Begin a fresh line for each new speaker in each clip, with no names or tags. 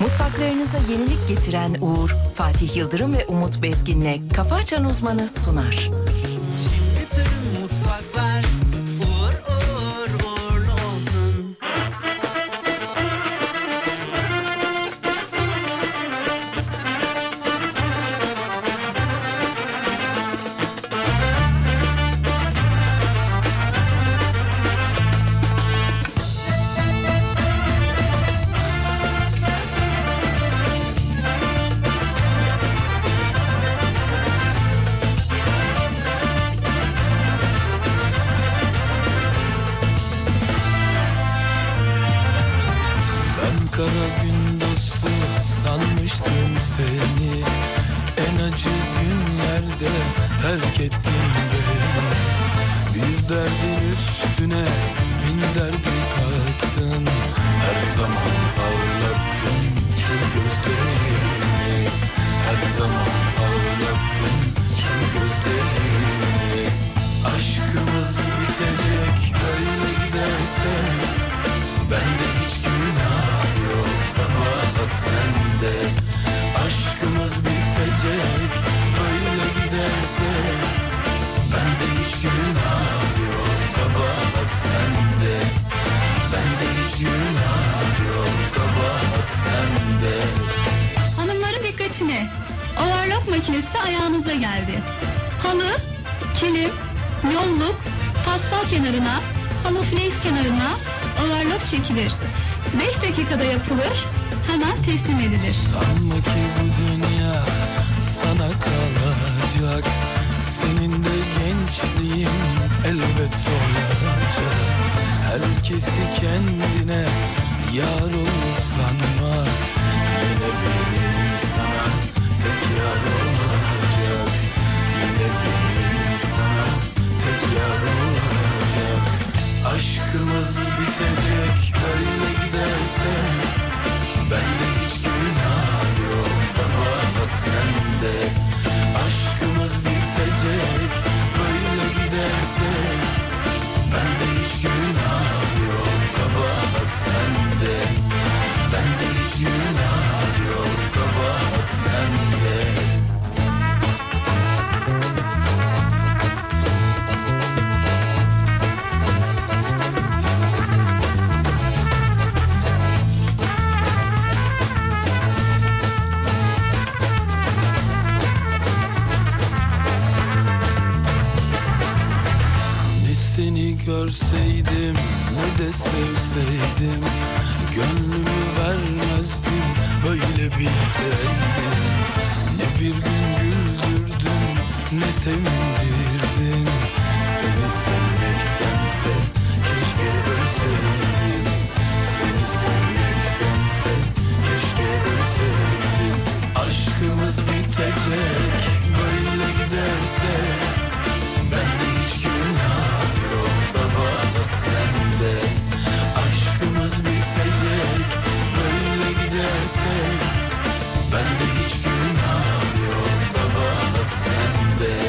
Mutfaklarınıza yenilik getiren Uğur, Fatih Yıldırım ve Umut Bezgin'le Kafa Açan Uzmanı sunar.
Bütün mutfaklar uğur uğur uğurlu olsun.
Ben kara gün dostu sanmıştım seni En acı günlerde terk ettin beni Bir derdin üstüne bin derdi kattın Her zaman ağlattın şu gözlerimi Her zaman ağlattın şu gözlerimi Aşkımız bitecek böyle giderse Bende hiç günah yok ama bak sende Aşkımız bitecek böyle giderse Bende hiç günah yok kabahat sende Bende hiç günah yok kabahat sende
Hanımların dikkatine. Overlock makinesi ayağınıza geldi. Halı, kilim, yolluk, paspas kenarına, halı flex kenarına overlock çekilir. 5 dakikada yapılır, hemen teslim edilir.
Sanma ki bu dünya sana kalacak Senin de gençliğin elbet solacak Herkesi kendine yar olur sanma Yine benim sana tek yar olacak Yine benim sana tek yar olacak Aşkımız bitecek böyle giderse Bende hiç günah yok ama bak sende Aşkımız bitecek böyle giderse Bende hiç günah yok kabahat sende Bende hiç günah yok kabahat sende Ne seni görseydim ne de sevseydim Gönlümü vermezdim böyle bilseydim Ne bir gün güldürdün ne sevindirdin Seni sevmektense keşke ölseydim Seni sevmektense keşke ölseydim Aşkımız bitecek böyle giderse Bende hiç günah yok babalık sende Aşkımız bitecek böyle giderse Bende hiç günah yok babalık sende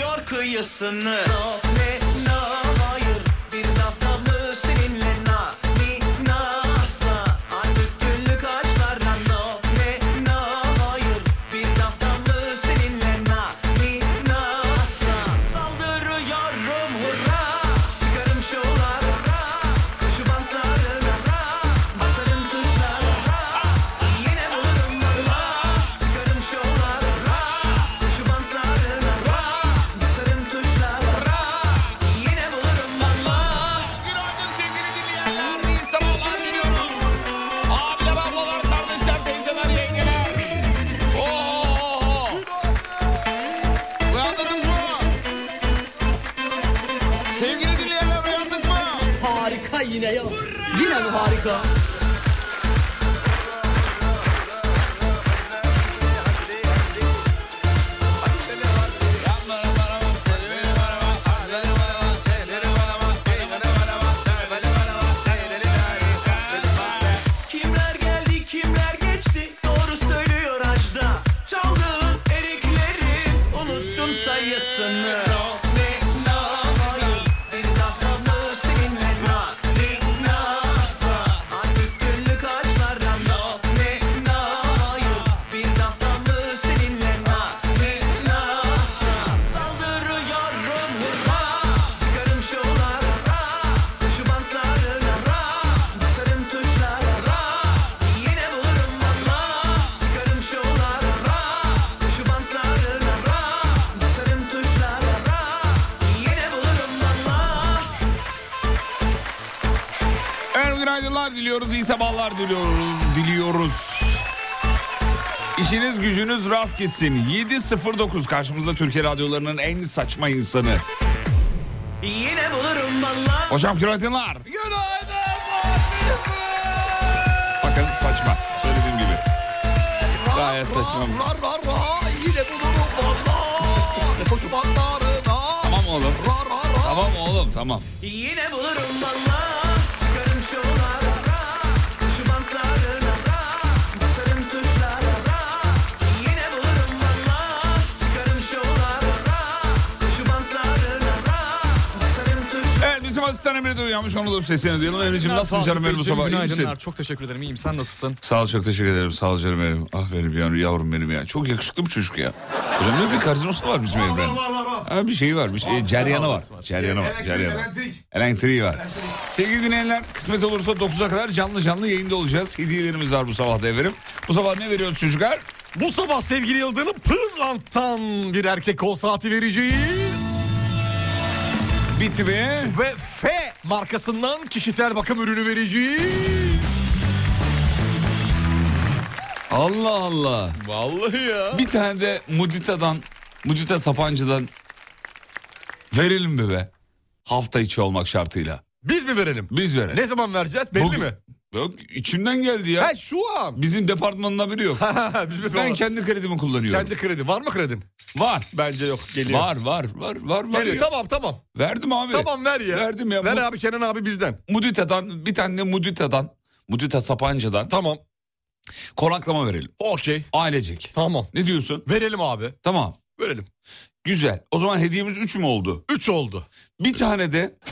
şarkısını No ne na hayır bir laflamı seninle na ni na asla Artık günlük harçlarla no ne na hayır bir laflamı seninle na ni na asla Saldırıyorum hurra çıkarım şovlar hurra Koşu bantlarına hurra basarım tuşlara hurra Yine bulurum hurra çıkarım şovlar hurra Koşu bantlarına hurra basarım tuşlara hurra Yine bulurum valla
Günaydın sevgili dinleyenler. İyi sabahlar diliyoruz. Abiler, ablalar, kardeşler, teyzeler, yengeler. Oo, oo, oo. Uyandınız mı? Sevgili dinleyenler uyandık mı?
Harika yine ya. Yine mi harika?
Kimler geldi kimler geçti doğru söylüyor Ajda Çaldığın erikleri unuttum sayısını Ne na hayır bir laflamı seninle na Ne na asla artık günlük harçlarla No ne na hayır bir laflamı seninle na Ne na asla saldırıyorum hurra Çıkarım şovlar hurra koşu bantlarına hurra basarım tuşlara hurra Yine bulurum valla Çıkarım şovlar hurra koşu bantlarına hurra basarım tuşlara hurra Yine bulurum valla
Evet günaydınlar diliyoruz, iyi sabahlar diliyoruz, diliyoruz. İşiniz gücünüz rast gitsin. 7.09 karşımızda Türkiye radyolarının en saçma insanı.
Yine bulurum valla
Hocam günaydınlar. Günaydın Bakın saçma. Söylediğim gibi. Gayet saçma. Tamam oğlum. Tamam oğlum tamam.
Yine bulurum valla Çıkarım şovlara Kuşu bantlarına Basarım tuşlara Yine bulurum valla Çıkarım şovlara Kuşu bantlarına Basarım tuşlara
Evet bizim asistan Emre de uyanmış onu da sesini duyalım. Emre'ciğim nasılsın
Fatih
canım benim bu
Beyciğim,
sabah? İyi misin?
Günaydınlar. Çok teşekkür ederim. İyiyim. Sen nasılsın?
Sağ ol çok teşekkür ederim. Sağ ol canım benim. Ah benim yavrum, yavrum benim ya. Çok yakışıklı bir çocuk ya. Hocam ne bir karizması var bizim Emre'nin. Ha, bir şeyi var. Bir şey, ceryanı var. Ceryanı var. Ceryanı var. Elektriği var. Sevgili dinleyenler kısmet olursa 9'a kadar canlı canlı yayında olacağız. Hediyelerimiz var bu sabah da efendim. Bu sabah ne veriyoruz çocuklar?
Bu sabah sevgili Yıldırım Pırlant'tan bir erkek kol saati vereceğiz.
Bitti mi?
Ve F markasından kişisel bakım ürünü vereceğiz.
Allah Allah.
Vallahi ya.
Bir tane de Mudita'dan, Mudita Sapancı'dan verelim mi be? Hafta içi olmak şartıyla.
Biz mi verelim?
Biz verelim.
Ne zaman vereceğiz belli
Bugün-
mi?
Yok içimden geldi ya.
Ha şu an.
Bizim departmanına biri yok.
Biz mi
ben kendi kredimi kullanıyorum.
Kendi kredi var mı kredin?
Var.
Bence yok geliyor.
Var var var var var.
Geliyor.
ya.
Tamam tamam.
Verdim abi.
Tamam ver ya.
Verdim ya.
Ver
Mu-
abi Kenan abi bizden.
Mudita'dan bir tane Mudita'dan Mudita Sapanca'dan
Tamam.
konaklama verelim.
Okey.
Ailecek.
Tamam.
Ne diyorsun?
Verelim abi.
Tamam.
Verelim.
Güzel. O zaman hediyemiz 3 mü oldu?
Üç oldu.
Bir tane de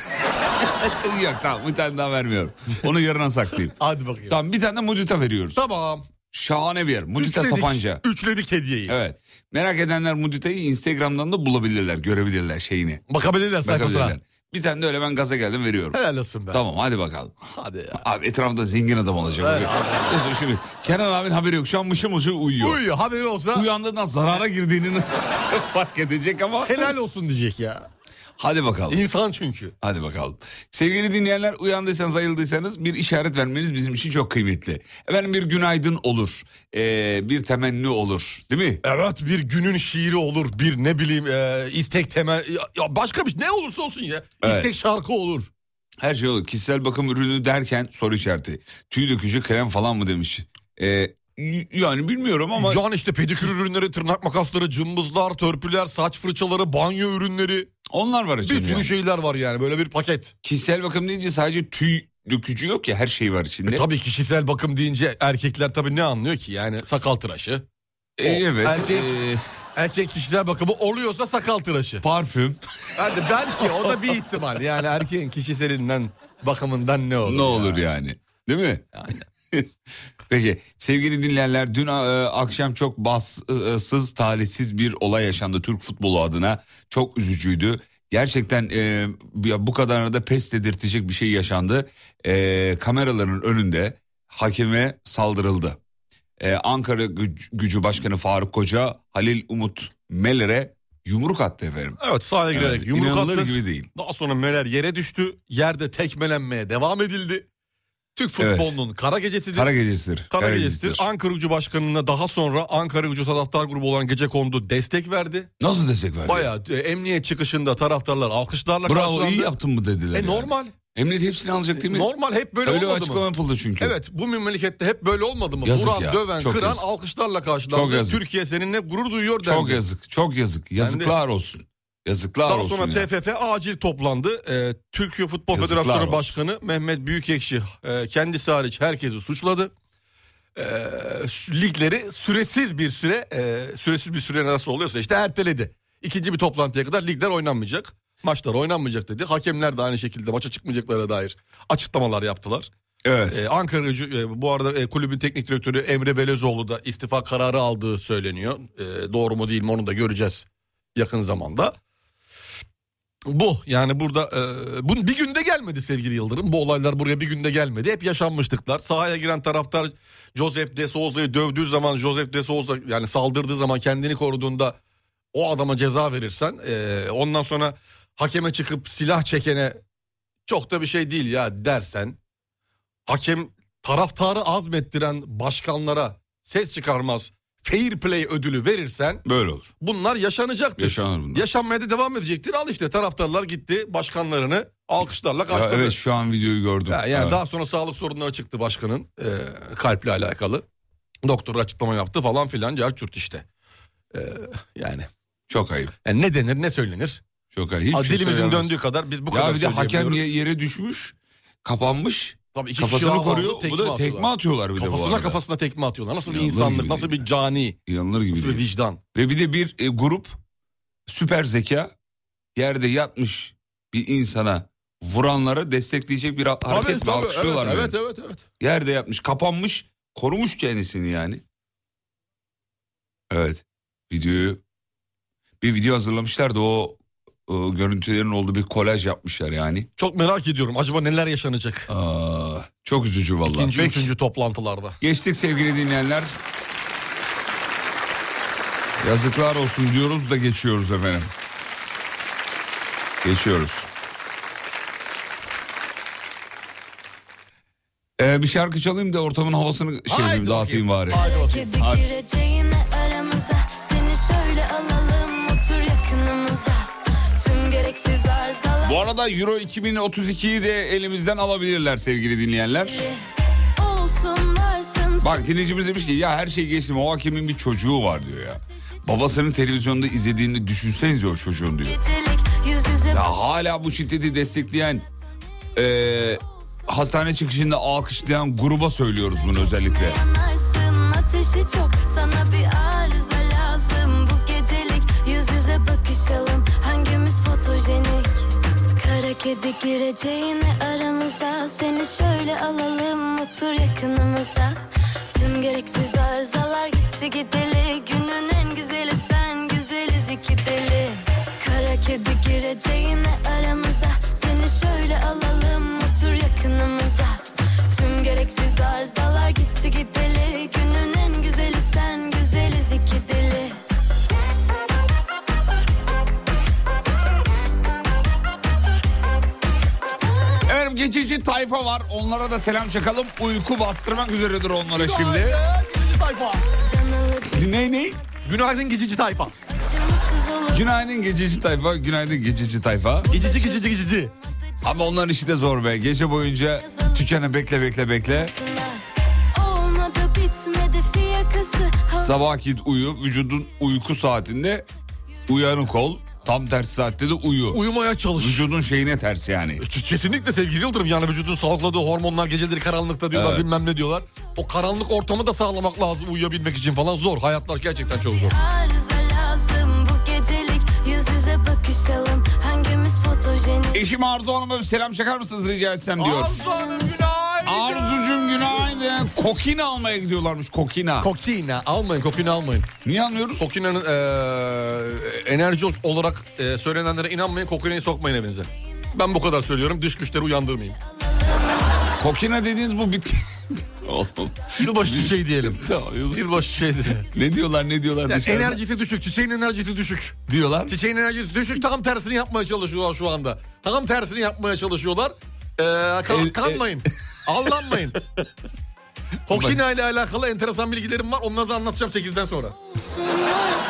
Yok tamam bir tane daha vermiyorum. Onu yarına saklayayım.
Hadi bakayım.
tamam bir tane de Mudita veriyoruz.
Tamam.
Şahane bir yer. Mudita
Üçledik.
Sapanca.
Üçledik hediyeyi.
Evet. Merak edenler Mudita'yı Instagram'dan da bulabilirler, görebilirler şeyini.
Bakabilirler sayfasına.
Bakabilirler. Bir tane de öyle ben gaza geldim veriyorum.
Helal olsun be.
Tamam hadi bakalım.
Hadi ya.
Abi etrafında zengin adam olacak. bugün. Neyse şimdi Kenan abinin haberi yok. Şu an mışıl mışıl uyuyor.
Uyuyor haberi olsa
Uyandığında zarara girdiğini fark edecek ama.
helal olsun diyecek ya.
Hadi bakalım.
İnsan çünkü.
Hadi bakalım. Sevgili dinleyenler uyandıysanız ayıldıysanız bir işaret vermeniz bizim için çok kıymetli. Efendim bir günaydın olur. Ee, bir temenni olur. Değil mi?
Evet bir günün şiiri olur bir ne bileyim e, istek temel ya, ya başka bir şey, ne olursa olsun ya
Evet.
istek şarkı olur.
Her şey olur. Kişisel bakım ürünü derken soru işareti. Tüy dökücü krem falan mı demiş. Ee, y- yani bilmiyorum ama
Can işte pedikür ürünleri, tırnak makasları, cımbızlar, törpüler, saç fırçaları, banyo ürünleri
onlar var
bir
içinde.
sürü şey-
yani.
şeyler var yani böyle bir paket.
Kişisel bakım deyince sadece tüy dökücü yok ya her şey var içinde.
E, tabii kişisel bakım deyince erkekler tabii ne anlıyor ki yani sakal tıraşı.
Ee, evet.
Erkek-
ee,
Erkek kişisel bakımı oluyorsa sakal tıraşı.
parfüm.
Hadi belki o da bir ihtimal. Yani erkeğin kişiselinden bakımından ne olur?
Ne olur yani. Değil mi? Peki sevgili dinleyenler dün e, akşam çok bassız talihsiz bir olay yaşandı Türk futbolu adına. Çok üzücüydü. Gerçekten e, ya bu kadarına da pes dedirtecek bir şey yaşandı. E, kameraların önünde hakeme saldırıldı. E, Ankara Güc- Gücü Başkanı Faruk Koca Halil Umut Meler'e yumruk attı efendim.
Evet sahaya girerek
Yani
yumruk
inanılır
attı.
gibi değil.
Daha sonra Möller yere düştü. Yerde tekmelenmeye devam edildi. Türk
Evet.
futbolunun kara gecesidir.
Kara gecesidir.
Kara gecesidir. Ankara Gücü Başkanı'na daha sonra Ankara Gücü Taraftar Grubu olan Gecekondu destek verdi.
Nasıl destek verdi?
Bayağı e, emniyet çıkışında taraftarlar alkışlarla
Bravo
karşılandı.
iyi yaptın mı dediler.
E
yani.
normal.
Emniyet hepsini alacak değil mi?
Normal hep böyle
Öyle
olmadı
açıklama
mı?
yapıldı çünkü.
Evet bu memlekette hep böyle olmadı mı?
Yazık
Vuran,
ya,
döven,
çok
kıran
yazık.
alkışlarla karşılandı.
Çok yazık.
Türkiye seninle gurur duyuyor dendi.
Çok yazık, çok yazık. Yazıklar olsun. Yazıklar
Daha
olsun.
sonra
ya.
TFF acil toplandı. Ee, Türkiye Futbol
Yazıklar
Federasyonu
olsun.
Başkanı Mehmet Büyükekşi e, kendisi hariç herkesi suçladı. Ee, sü- ligleri süresiz bir süre, e, süresiz bir süre nasıl oluyorsa işte erteledi. İkinci bir toplantıya kadar ligler oynanmayacak. Maçlar oynanmayacak dedi. Hakemler de aynı şekilde maça çıkmayacaklara dair açıklamalar yaptılar.
Evet.
Ee, Ankara Gücü e, bu arada e, kulübün teknik direktörü Emre Belezoğlu da istifa kararı aldığı söyleniyor. Ee, doğru mu değil mi onu da göreceğiz yakın zamanda. Bu yani burada e, bu bir günde gelmedi sevgili Yıldırım. Bu olaylar buraya bir günde gelmedi. Hep yaşanmışlıklar. Sahaya giren taraftar Joseph De Souza'yı dövdüğü zaman Joseph De Souza yani saldırdığı zaman kendini koruduğunda o adama ceza verirsen e, ondan sonra hakeme çıkıp silah çekene çok da bir şey değil ya dersen hakem taraftarı azmettiren başkanlara ses çıkarmaz fair play ödülü verirsen
Böyle olur.
bunlar yaşanacaktır.
Yaşanır bunlar.
Yaşanmaya da devam edecektir. Al işte taraftarlar gitti başkanlarını alkışlarla
Ya
karşıladı.
evet şu an videoyu gördüm.
Ya, yani
Evet.
daha sonra sağlık sorunları çıktı başkanın e, kalple alakalı. Doktor açıklama yaptı falan filan cerçürt işte. E, yani.
Çok ayıp.
yani ne denir ne söylenir.
Çok ayıp. Hiçbir şey
Dilimizin
söylenemez.
döndüğü kadar biz bu kadar
Ya bir de hakem
söyleyemiyoruz.
ye- yere düşmüş, kapanmış,
Tabii iki kişi
kafasını
daha vardı,
koruyor. Bu da tekme
attılar.
atıyorlar bir de bu
Kafasına
arada.
kafasına tekme atıyorlar. Nasıl bir
Yanılır
insanlık,
gibi
nasıl
değil
bir cani,
Yanılır gibi
nasıl bir
değil.
vicdan.
Ve bir de bir e, grup süper zeka yerde yatmış bir insana vuranlara destekleyecek bir ha- hareket
Tabii,
ve
tabii,
alkışlıyorlar.
evet,
böyle.
evet, evet, evet.
Yerde yapmış, kapanmış, korumuş kendisini yani. Evet. Videoyu bir video hazırlamışlardı o e, görüntülerin olduğu bir kolaj yapmışlar yani.
Çok merak ediyorum. Acaba neler yaşanacak?
Aa, çok üzücü vallahi.
İkinci,
Peki.
üçüncü toplantılarda.
Geçtik sevgili dinleyenler. Yazıklar olsun diyoruz da geçiyoruz efendim. Geçiyoruz. Ee, bir şarkı çalayım da ortamın havasını şey
Haydi
yapayım, dağıtayım bari.
Haydi bakayım.
Kedi gireceğine aramıza Seni şöyle alalım otur yakınımıza Tüm gereksiz arzalar
Bu arada Euro 2032'yi de elimizden alabilirler sevgili dinleyenler.
olsun varsın
Bak dinleyicimiz demiş ki ya her şey geçti o hakemin bir çocuğu var diyor ya. Babasının televizyonda izlediğini düşünsenize o çocuğun diyor.
Gecelik yüz yüze
Ya hala bu şiddeti destekleyen eee, hastane çıkışında alkışlayan gruba söylüyoruz bunu özellikle.
yanarsın ateşi çok Sana bir arıza lazım bu gecelik Yüz yüze bakışalım hangimiz fotojenik Kara kedi gireceğine aramıza Seni şöyle alalım otur yakınımıza Tüm gereksiz arızalar gitti gideli Günün en güzeli sen güzeliz iki deli Kara kedi gireceğine aramıza Seni şöyle alalım otur yakınımıza Tüm gereksiz arızalar gitti gideli Günün en güzeli sen güzeliz iki deli
Efendim geçici tayfa var onlara da selam çakalım. Uyku bastırmak üzeredir onlara şimdi.
Günaydın geçici tayfa.
Can alıcı
Ne ne?
Günaydın geçici tayfa.
acımasız olur
Günaydın geçici tayfa, günaydın geçici tayfa.
Geçici geçici geçici.
Ama onların işi de zor be. Gece boyunca tükene bekle bekle bekle.
Olmadı bitmedi fiyakası
Sabah git uyu, vücudun uyku saatinde uyanık ol. Tam tersi saatte de uyu.
Uyumaya çalış.
Vücudun şeyine ters yani.
Kesinlikle sevgili Yıldırım yani vücudun salgıladığı hormonlar geceleri karanlıkta diyorlar
Evet.
bilmem ne diyorlar. O karanlık ortamı da sağlamak lazım uyuyabilmek için falan zor. Hayatlar gerçekten çok zor.
Arıza lazım bu gecelik Yüz yüze bakışalım Hangi hangimiz fotojenik
Eşim Arzu Hanım'a bir selam çakar mısınız rica etsem diyor.
Arzu Hanım günaydın.
Arzucum günaydın. Kokina almaya gidiyorlarmış kokina.
Kokina almayın kokina almayın.
Niye anlıyoruz?
Kokina'nın eee, enerji olarak eee, söylenenlere inanmayın kokinayı sokmayın evinize. Ben bu kadar söylüyorum dış güçleri uyandırmayın.
Kokina dediğiniz bu bitki. Olsun.
Yılbaşı şey diyelim.
Tamam, yıl-
Yılbaşı şey diyelim.
ne diyorlar ne diyorlar
Ya
dışarıda?
enerjisi düşük, çiçeğin enerjisi düşük.
Diyorlar.
Çiçeğin enerjisi düşük, tam tersini yapmaya çalışıyorlar şu anda. Tam tersini yapmaya çalışıyorlar. Ee, kan-
El-
kanmayın, aldanmayın. Kokina ile alakalı enteresan bilgilerim var. Onları da anlatacağım 8'den sonra.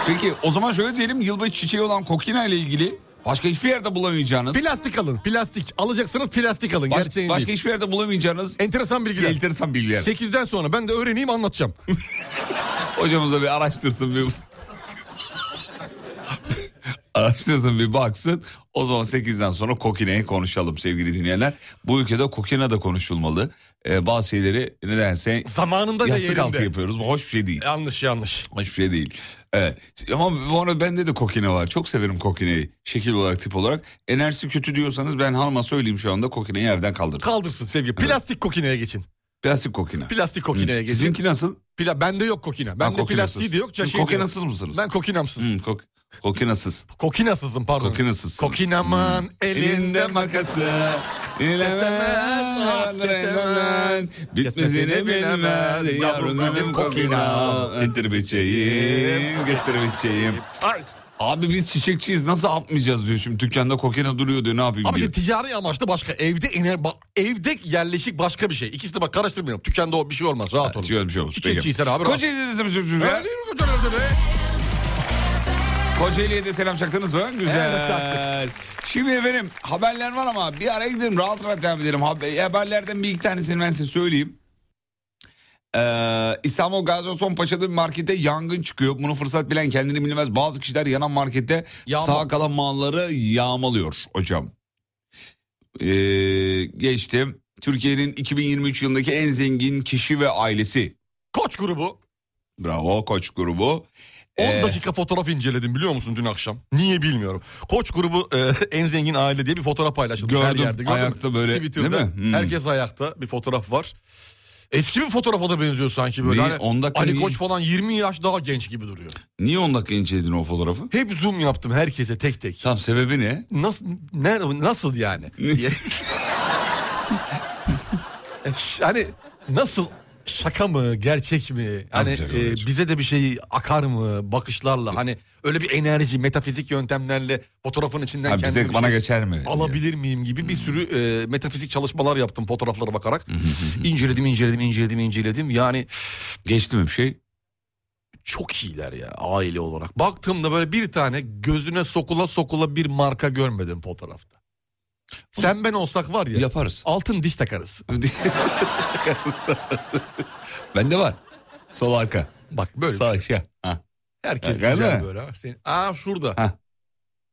Peki o zaman şöyle diyelim yılbaşı çiçeği olan kokina ile ilgili başka hiçbir yerde bulamayacağınız.
Plastik alın, plastik. Alacaksınız plastik alın.
baş-
Gerçeğini
başka
değil.
hiçbir yerde bulamayacağınız
Enteresan bilgiler.
enteresan bilgiler.
8'den sonra ben de öğreneyim anlatacağım.
Hocamız da bir araştırsın bir... araştırsın bir baksın. O zaman 8'den sonra kokineyi konuşalım sevgili dinleyenler. Bu ülkede kokina da konuşulmalı. Ee, bazı şeyleri nedense
Zamanında ve
yastık altı
yerinde. E,
yapıyoruz. Bu hoş bir şey değil.
Yanlış yanlış.
Hoş bir şey değil. Evet. Ama bu arada bende de kokine var. Çok severim kokineyi. Şekil olarak, tip olarak. Enerjisi kötü diyorsanız ben hanıma söyleyeyim şu anda kokineyi evden kaldırsın.
Kaldırsın sevgili. Plastik kokineye geçin.
Plastik kokine.
Plastik kokineye geçin.
Sizinki nasıl?
Pla- bende yok kokina. Bende
kokinasız.
plastiği de yok.
Siz
çiçeği de yok.
kokinasız mısınız?
Ben kokinamsız.
Hı, kok kokinasız.
Kokinasızım pardon.
Kokinasız.
Kokinaman elinde ah,
Elinde makası. Bilemem, bilemem, bitmesini bilemem. Yavrum benim kokina. Getir biçeyim, getir biçeyim. Abi biz çiçekçiyiz nasıl atmayacağız diyor şimdi dükkanda kokina duruyor diyor ne yapayım
Ama
diyor.
şimdi ticari amaçlı başka evde iner bak evde yerleşik başka bir şey. İkisi de bak karıştırmayalım. Tükende o bir şey olmaz rahat olun.
Şey öyle bir şey olmuş.
Çiçekçiysen abi. rahat.
Kocaeli'de de selam
Öyle değil mi hocam, öyle be?
Kocaeli'ye de selam çaktınız mı?
Evet,
Güzel. Şimdi efendim haberler var ama bir araya gidelim rahat rahat devam edelim. Haber- Haberlerden bir iki tanesini ben size söyleyeyim. Ee, İstanbul Gazi Osman Paşa'da bir markette yangın çıkıyor. Bunu fırsat bilen kendini bilmez. Bazı kişiler yanan markette
Yağma-
sağ kalan malları yağmalıyor hocam. Ee, geçtim. Türkiye'nin 2023 yılındaki en zengin kişi ve ailesi.
Koç grubu.
Bravo Koç grubu.
10
Ee,
dakika fotoğraf inceledim biliyor musun dün akşam? Niye bilmiyorum. Koç grubu e, en zengin aile diye bir fotoğraf paylaşıldı. her
Gördüm,
yerde. Gördün mü?
ayakta böyle, değil
Twitter'da
mi? Hmm.
Herkes ayakta bir fotoğraf var. Eski bir fotoğrafa da benziyor sanki böyle.
Neyi-
Hani
10 dakika
Ali
neyi-
Koç falan 20 yaş daha genç gibi duruyor.
Niye 10 dakika inceledin o fotoğrafı?
Hep zoom yaptım herkese tek tek.
Tam sebebi ne?
Nasıl nerede nasıl yani? Ş- hani nasıl şaka mı gerçek mi? Hani
şaka,
e,
gerçek?
bize de bir şey akar mı bakışlarla hani öyle bir enerji metafizik yöntemlerle fotoğrafın içinden
Ha,
kendimi
bize
bir
bana Hmm.
şey
geçer mi?
alabilir miyim gibi bir sürü e, metafizik çalışmalar yaptım fotoğraflara bakarak.
Hmm,
inceledim inceledim inceledim inceledim. Yani
Geçti mi bir şey?
çok iyiler ya aile olarak. Baktığımda böyle bir tane gözüne sokula sokula bir marka görmedim fotoğrafta. Sen ben olsak var ya
Yaparız.
altın diş takarız.
Bende var. Sol arka.
Bak böyle şey.
Sağ aşağı. Ha.
herkes
Ha,
güzel
galiba.
böyle. ha. Senin- Aa şurada.
Ha.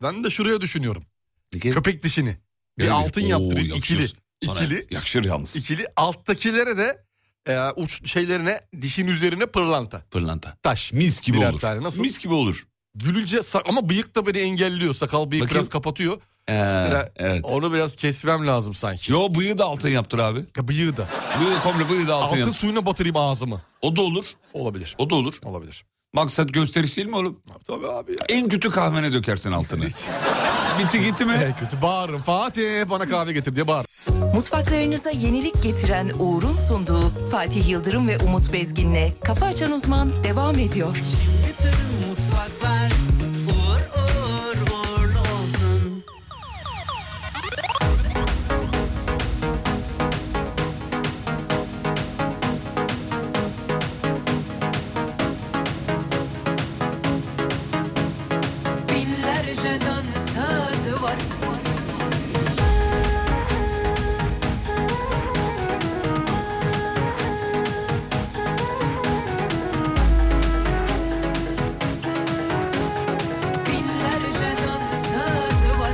Ben de şuraya düşünüyorum.
Bir kere-
Köpek dişini. Bir
Böyle
altın
Oo,
yaptırayım ikili.
yakışır. Sana
İkili.
Yakışır yalnız.
İkili alttakilere de e, uç şeylerine dişin üzerine pırlanta.
Pırlanta.
Taş.
Mis gibi
Birer
olur.
tane, nasıl?
Mis gibi olur.
Gülünce sak- ama bıyık da beni engelliyor. Sakal bıyık
Bakayım.
biraz kapatıyor.
Ee,
Biraz-
evet.
Onu biraz kesmem lazım sanki.
Yo bıyığı da altın yaptır abi.
Ya bıyığı da.
Bıyığı komple bıyığı da altın,
Altın
yaptır.
suyuna batırayım ağzımı.
O da olur.
Olabilir.
O da olur.
Olabilir.
Maksat gösteriş değil mi oğlum?
Tabii abi ya.
En kötü kahvene dökersin altını. Bitti gitti mi?
En kötü bağırırım. Fatih bana kahve getir diye bağır.
Mutfaklarınıza yenilik getiren Uğur'un sunduğu Fatih Yıldırım ve Umut Bezgin'le Kafa Açan Uzman devam ediyor.
Mutfaklar uğur uğur uğurlu olsun
Binlerce dansöz var Binlerce dansöz var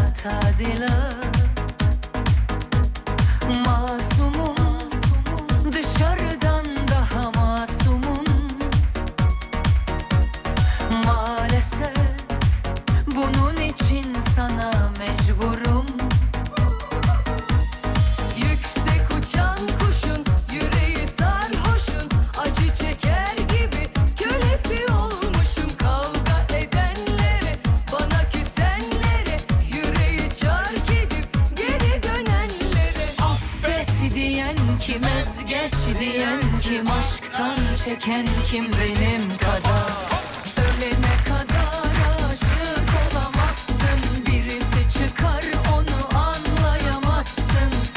tadilat Masumum dışarıdan daha masumum Maalesef bunun için sana mecburum Yüksek uçan kuşun yüreği sarhoşun Acı çeker gibi kölesi olmuşum Kavga edenlere bana küsenlere Yüreği çark edip geri dönenlere Affet diyen kim ezgeç diyen kim Aşktan çeken kim benim kadar Ölene kadar aşık olamazsın Birisi çıkar onu anlayamazsın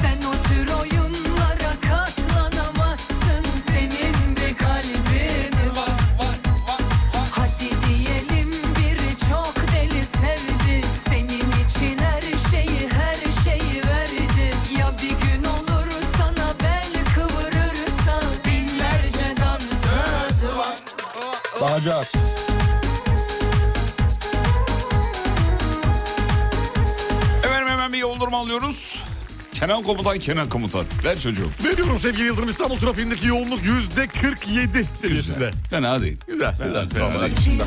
Sen o tür oyunlara katlanamazsın Senin bir kalbin var Hadi diyelim biri çok deli sevdi Senin için her şeyi her şeyi verdi Ya bir gün olur sana bel kıvırırsa Binlerce dansöz var
Bağacak.
Efendim hemen bir yol durumu alıyoruz. Kenan Komutan, Kenan Komutan. Ver çocuğum.
Veriyorum sevgili Yıldırım İstanbul trafiğindeki yoğunluk yüzde 47 seviyesinde.
Fena değil.
Güzel.
Fena,
Güzel.
fena
Tamam.
değil.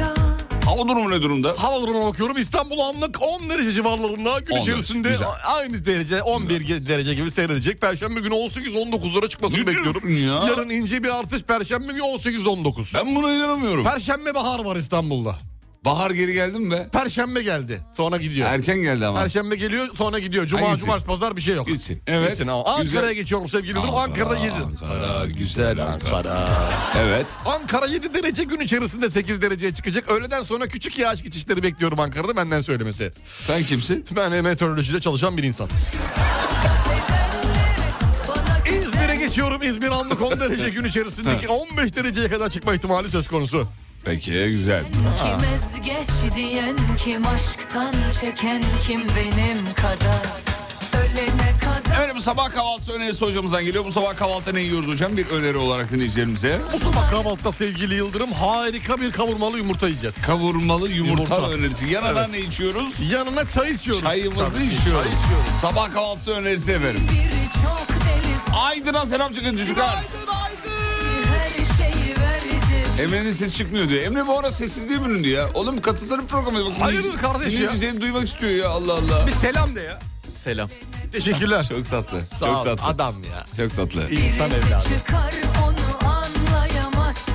Hava durumu ne durumda?
Hava durumuna bakıyorum. İstanbul anlık 10 derece civarlarında. Gün
10
içerisinde
derece, güzel.
aynı derece 11 ge- derece gibi seyredecek. Perşembe günü 18-19'lara çıkmasını
Ne diyorsun
bekliyorum.
ya?
Yarın ince bir artış. Perşembe günü 18-19.
Ben buna inanamıyorum.
Perşembe bahar var İstanbul'da.
Bahar geri geldi mi be?
Perşembe geldi. Sonra gidiyor.
Erken geldi ama.
Perşembe geliyor sonra gidiyor. Cuma,
Ha, gitsin.
cumartesi, pazar bir şey yok.
Gitsin. Evet.
Gitsin ama. Ankara'ya
Güzel.
geçiyorum sevgili Yıldırım. Ankara'da 7.
Ankara, güzel
Ankara.
Evet.
Ankara 7 derece gün içerisinde 8 dereceye çıkacak. Öğleden sonra küçük yağış geçişleri bekliyorum Ankara'da benden söylemesi.
Sen kimsin?
Ben meteorolojide çalışan bir insan. İzmir'e geçiyorum. İzmir anlık 10 derece gün içerisindeki 15 dereceye kadar çıkma ihtimali söz konusu.
Peki güzel.
Kim ezgeç diyen kim aşktan çeken kim benim kadar Ölene kadar
Efendim sabah kahvaltısı önerisi hocamızdan geliyor. Bu sabah kahvaltıda ne yiyoruz hocam? Bir öneri olarak dinleyicilerimize.
Bu sabah kahvaltıda sevgili Yıldırım harika bir kavurmalı yumurta yiyeceğiz.
Kavurmalı yumurta,
Yumurta.
önerisi. Yanına
Evet.
ne içiyoruz?
Yanına çay içiyoruz.
Çayımızı
Tabii ki,
içiyoruz.
çay içiyoruz.
Sabah kahvaltısı önerisi efendim.
biri çok deli
Aydın'a selam çıkın çocuklar.
her şeyi verdi
Emre'nin sesi çıkmıyor diyor. Emre bu ara sessizliği büründü ya. Oğlum katılsana programı. Bak,
Hayırdır
dinleyici-
kardeş ya?
Dinleyici seni duymak istiyor ya Allah Allah.
Bir selam de ya.
Selam.
Teşekkürler.
Çok tatlı.
Sağ
çok
ol,
tatlı.
adam ya.
Çok tatlı.
İnsan evladı.
Çıkar onu anlayamazsın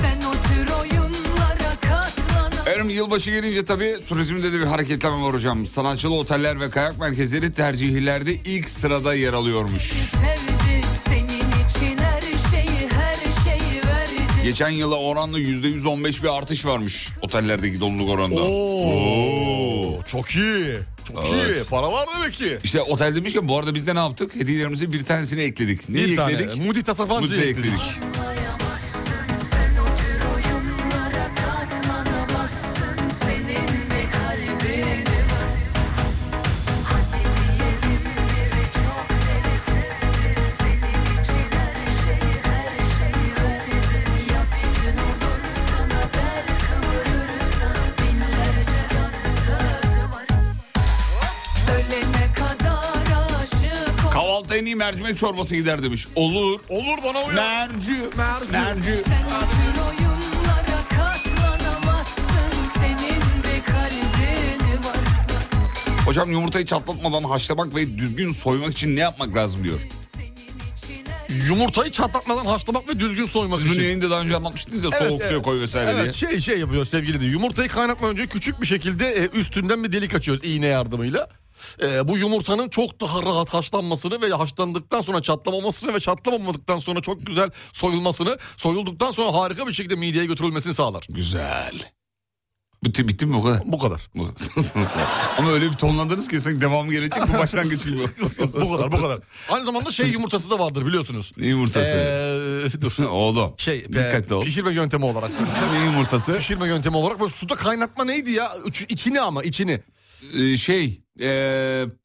Sen o tür oyunlara katlanamazsın
Efendim yılbaşı gelince tabii turizmde de bir hareketlenme var hocam. Sanatçılı oteller ve kayak merkezleri tercihlerde ilk sırada yer alıyormuş.
Sevdi senin için her şeyi her şeyi verdi
Geçen yıla oranla %115 bir artış varmış otellerdeki doluluk oranında.
Oo, çok iyi. Çok
Evet.
iyi. Para var demek ki.
İşte otel demiş ya bu arada biz de ne yaptık? Hediyelerimize bir tanesini ekledik. Neyi
Bir tane.
ekledik?
Moody Tasarfancı'yı
Mutlu'ya
ekledik.
ekledik.
Anlayamazsın sen o tür oyunlara katlanamazsın Senin bir kalbin var Hadi diyelim biri çok deli sevdi Senin için her şeyi her şeyi verdi Ya bir gün olur sana bel kıvırırsan Binlerce dansöz var Ölene kadar aşık ol
Kahvaltıda en iyi mercimek çorbası gider demiş. Olur.
Olur bana uyar.
Mercü. Mercü.
Sen o tür oyunlara katlanamazsın Senin bir kalbin var
Hocam yumurtayı çatlatmadan haşlamak ve düzgün soymak için ne yapmak lazım diyor.
Yumurtayı çatlatmadan haşlamak ve düzgün soymak
Siz bunu
için.
yayında daha önce anlatmıştınız ya
Evet,
soğuk suya
evet.
koy vesaire
Evet
diye.
şey şey yapıyoruz sevgili de yumurtayı kaynatmadan önce küçük bir şekilde e, üstünden bir delik açıyoruz iğne yardımıyla. E, bu yumurtanın çok daha rahat haşlanmasını ve haşlandıktan sonra çatlamamasını ve çatlamamadıktan sonra çok güzel soyulmasını, soyulduktan sonra harika bir şekilde mideye götürülmesini sağlar.
Güzel. Bitti, bitti mi o kadar?
Bu kadar.
Bu kadar. Ama öyle bir tonlandınız ki sanki devamı gelecek bu başlangıç gibi.
bu kadar bu kadar. Aynı zamanda şey yumurtası da vardır biliyorsunuz.
Ne yumurtası?
Ee, dur.
Oğlum.
Şey, e,
Dikkatli ol.
pişirme yöntemi olarak.
Ne yumurtası?
pişirme yöntemi olarak böyle suda kaynatma neydi ya? Üç- İçini ama içini.
Ee, şey. Ee,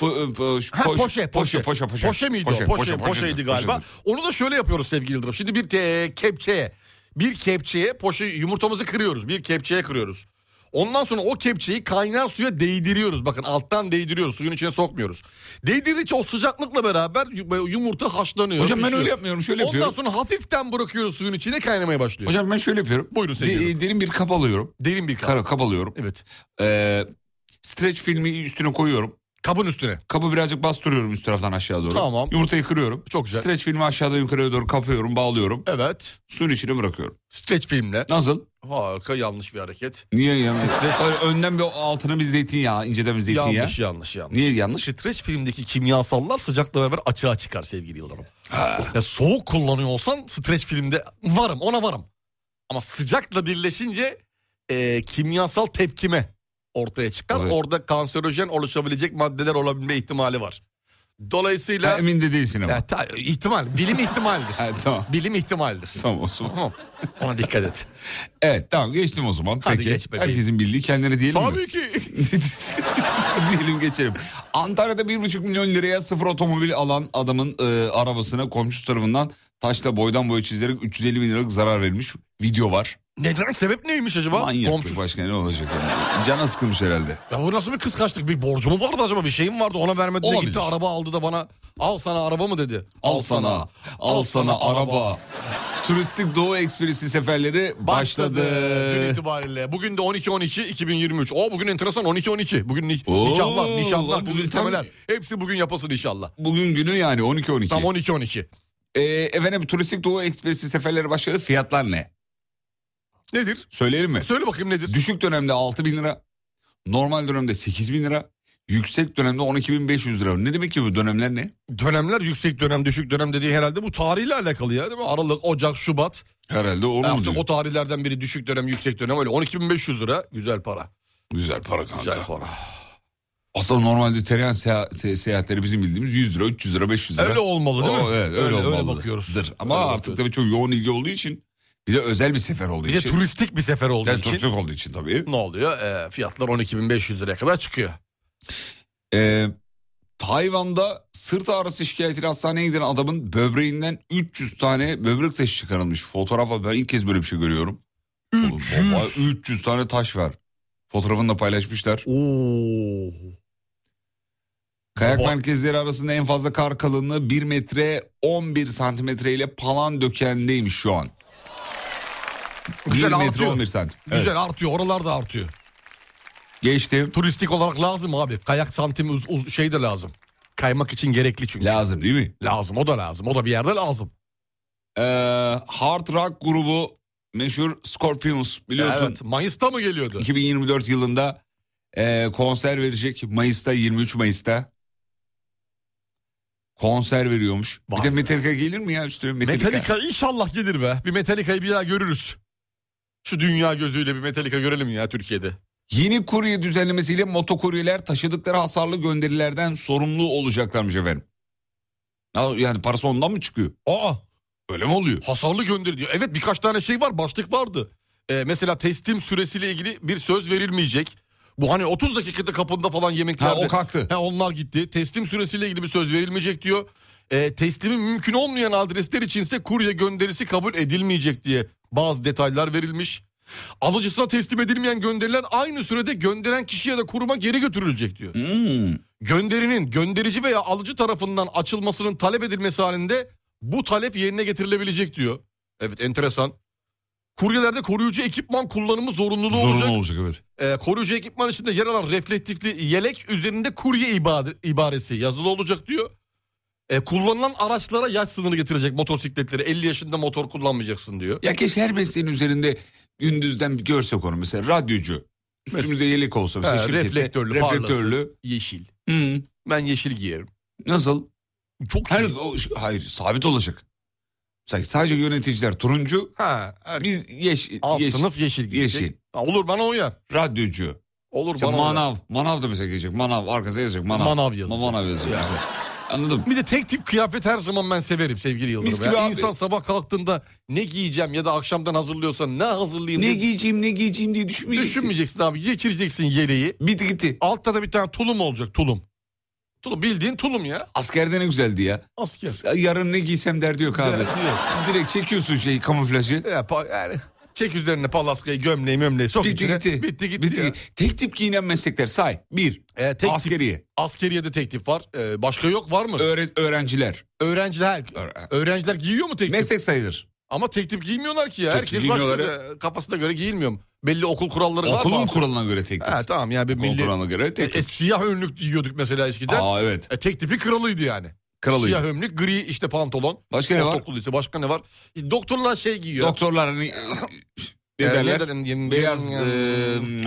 po- e, po-
Ha,
poş-
poşe, poşe.
Poşe, poşe.
miydi o? Poşe, poşeydi galiba.
poşedir.
Onu da şöyle yapıyoruz sevgili Yıldırım. Şimdi bir te- kepçeye, bir kepçeye poşe yumurtamızı kırıyoruz. Bir kepçeye kırıyoruz. Ondan sonra o kepçeyi kaynar suya değdiriyoruz. Bakın alttan değdiriyoruz. Suyun içine sokmuyoruz. Değdirdikçe o sıcaklıkla beraber yu- yumurta haşlanıyor.
Hocam ben
pişiyor.
öyle yapmıyorum, şöyle
Ondan
yapıyorum.
sonra hafiften bırakıyoruz suyun içine kaynamaya başlıyor.
Hocam ben şöyle yapıyorum.
Buyurun sevgili
De-
hanım.
derin bir kap alıyorum.
Derin bir kap.
Kara kap alıyorum.
Evet.
Ee, streç filmi üstüne koyuyorum.
Kabın üstüne.
Kabı birazcık bastırıyorum üst taraftan aşağı doğru.
Tamam.
Yumurtayı kırıyorum.
Çok güzel.
Streç filmi aşağıdan yukarıya doğru kapıyorum, bağlıyorum.
Evet.
Suyun içine bırakıyorum.
Streç filmle.
Nasıl?
Harika yanlış bir hareket.
Niye yanlış? Hayır, Önden bir altına bir zeytinyağı, inceden bir zeytinyağı.
Yanlış yanlış yanlış.
Niye yanlış?
Streç filmdeki kimyasallar sıcakla beraber açığa çıkar sevgili Yıldırım. Ya soğuk kullanıyor olsan streç filmde varım ona varım. Ama sıcakla birleşince e, kimyasal tepkime ortaya çıkar.
Evet.
Orada kanserojen oluşabilecek maddeler olabilme ihtimali var. Dolayısıyla
Ha, emin de değilsin ama.
Ya, ta- ihtimal bilim ihtimaldir.
Ha, tamam.
Bilim ihtimaldir.
Tamam olsun.
Tamam. Ona dikkat et.
Evet tamam geçtim o zaman.
Hadi
Peki.
geç bebeğim.
Herkesin bildiği kendine diyelim mi?
Tabii ki.
Diyelim geçelim. Antalya'da bir buçuk milyon liraya sıfır otomobil alan adamın e, arabasına komşu tarafından taşla boydan boya çizerek 350 bin liralık zarar verilmiş video var.
Neden sebep neymiş acaba?
Manyak
Komşusu.
başka ne olacak yani. Canı sıkılmış herhalde.
Ya bu nasıl bir kıskançlık? Bir borcu mu vardı acaba? Bir şeyim vardı ona vermedi de
Olabilir.
gitti araba aldı da bana al sana araba mı dedi.
Al sana, al sana araba. Turistik Doğu Ekspresi seferleri başladı.
Dün itibariyle. Bugün de 12-12-2023. O bugün enteresan 12-12. Bugün ni-
Oo,
nişanlar, nişanlar,
lan bugün
düzlemeler. Hepsi bugün yapasın inşallah.
Bugün günü yani 12-12.
Tam 12-12.
Ee, efendim Turistik Doğu Ekspresi seferleri başladı. Fiyatlar ne?
Nedir?
Söyleyelim mi?
Söyle bakayım nedir?
Düşük dönemde 6 bin lira. Normal dönemde 8 bin lira. Yüksek dönemde 12 bin 500 lira. Ne demek ki bu dönemler ne?
Dönemler yüksek dönem, düşük dönem dediği herhalde bu tarihle alakalı ya değil mi? Aralık, Ocak, Şubat.
Herhalde onu mu
Artık
diyor?
o tarihlerden biri düşük dönem, yüksek dönem öyle. 12.500 lira güzel para.
Güzel para kanka.
Güzel para.
Aslında normalde tereyağ seya- se- seyahatleri bizim bildiğimiz 100 lira, 300 lira, 500 lira.
Öyle olmalı değil mi?
O, evet, öyle,
Öyle- öyle
olmalıdır.
bakıyoruz.
Ama
Öyle
artık
bakıyoruz.
tabii çok yoğun ilgi olduğu için bir de özel bir sefer olduğu
Bir de
için.
turistik bir sefer olduğu
şey- Yani
için.
turistik olduğu için tabii.
Ne oluyor? Ee, fiyatlar 12.500 liraya kadar çıkıyor.
Ee, Tayvan'da sırt ağrısı şikayetiyle hastaneye giden adamın böbreğinden 300 tane böbrek taşı çıkarılmış. Fotoğrafa ben ilk kez böyle bir şey görüyorum. Oğlum
300.
baba, 300 tane taş var. Fotoğrafını da paylaşmışlar.
Oo.
Kayak
Baba.
merkezleri arasında en fazla kar kalınlığı 1 metre 11 santimetre ile palan dökendeymiş şu an. 1
Güzel
metre
artıyor.
11 santim. Evet.
Güzel artıyor. Oralar da artıyor.
Geçtim.
Turistik olarak lazım abi. Kayak santim uz- uz- şey de lazım. Kaymak için gerekli çünkü.
Lazım değil mi?
lazım. O da lazım. O da bir yerde lazım.
Ee, hard rock grubu meşhur Scorpions biliyorsun.
Evet. Mayıs'ta mı geliyordu?
2024 yılında e, konser verecek Mayıs'ta 23 Mayıs'ta. Konser veriyormuş.
Vay
bir de
be.
Metallica gelir mi ya üstüne Metallica?
Metallica inşallah gelir be. Bir Metallica'yı bir daha görürüz. Şu dünya gözüyle bir Metallica görelim ya Türkiye'de.
Yeni kurye düzenlemesiyle motokuryeler taşıdıkları hasarlı gönderilerden sorumlu olacaklarmış efendim. Ya Yani parası ondan mı çıkıyor?
Aa
Öyle mi oluyor?
hasarlı gönderi diyor. Evet birkaç tane şey var başlık vardı. Ee, mesela teslim süresiyle ilgili bir söz verilmeyecek. Bu hani 30 dakikada kapında falan
Ha
yemeklerde.
o kalktı.
Ha, onlar gitti. Teslim süresiyle ilgili bir söz verilmeyecek diyor. Ee, teslimi mümkün olmayan adresler içinse kurye gönderisi kabul edilmeyecek diye bazı detaylar verilmiş. Alıcısına teslim edilmeyen gönderiler aynı sürede gönderen kişiye de kuruma geri götürülecek diyor
Hmm.
gönderinin gönderici veya alıcı tarafından açılmasının talep edilmesi halinde bu talep yerine getirilebilecek diyor. Evet enteresan. Kuryelerde koruyucu ekipman kullanımı zorunluluğu
Zorunlu
olacak.
olacak evet.
Ee, koruyucu ekipman içinde yer alan reflektifli yelek üzerinde kurye ibade- ibaresi yazılı olacak diyor. Ee, kullanılan araçlara yaş sınırı getirecek motosikletlere. 50 yaşında motor kullanmayacaksın diyor.
Ya keşke her mesleğin üzerinde gündüzden bir görsek onu mesela radyocu. Üstümüzde yelek olsa mesela
Ha,
şirkette.
reflektörlü,
reflektörlü. Hmm.
parlasın. Yeşil.
Hı.
Ben yeşil giyerim.
Nasıl?
Çok
Her,
iyi.
o- hayır sabit olacak. Mesela sadece yöneticiler turuncu.
Ha, her...
Biz yeşil.
Alt
yeşil.
sınıf yeşil giyecek.
Yeşil.
Ha, olur bana uyar.
Radyocu.
Olur
Mesela
bana uyar.
manav. Manav da mesela gelecek. Manav arkasına yazacak. Manav.
Manav yazacak.
Manav yazacak mesela. Anladım.
Bir de tek tip kıyafet her zaman ben severim sevgili
Mis
Yıldırım.
gibi
Ya.
abi.
İnsan sabah kalktığında ne giyeceğim ya da akşamdan hazırlıyorsan ne hazırlayayım
Ne
diye
giyeceğim ne giyeceğim diye düşünmeyeceksin.
düşünmeyeceksin abi. Geçireceksin yeleği.
Bitti gitti.
Altta da bir tane tulum olacak tulum. Tulum bildiğin tulum ya.
Askerde ne güzeldi ya.
Asker.
Yarın ne giysem derdi yok abi.
Evet, yok.
Direkt çekiyorsun şey kamuflajı.
Ya, E, pa- yani Çek üzerine palaskayı gömleği mömleği sok
Bitti
içine.
gitti.
Bitti gitti.
Bitti
ya.
gitti. Tek tip giyinen meslekler say. Bir.
Ee, tek
askeriye.
Tip, askeriyede tek tip var. Ee, başka yok var mı?
Öğren- öğrenciler.
öğrenciler öğrenciler giyiyor mu tek tip?
Meslek sayılır.
Ama tek tip giymiyorlar ki ya.
Tek tip
Herkes
giymiyorlar
başka e, kafasına göre giyilmiyor mu? Belli okul kuralları var mı?
Okulun
artık?
kuralına göre tek tip.
Ha, tamam ya bir
Okulun
milli...
kuralına göre tek
E,
tip.
siyah önlük giyiyorduk mesela eskiden.
Aa evet.
E, tek tipi kralıydı yani.
Kralıydı.
Siyah önlük, gri işte pantolon.
Başka ne var?
Ortaokul ise başka ne var? E, Doktorlar şey giyiyor.
Doktorlar hani ne
E,
derler?
dedim?
Beyaz e,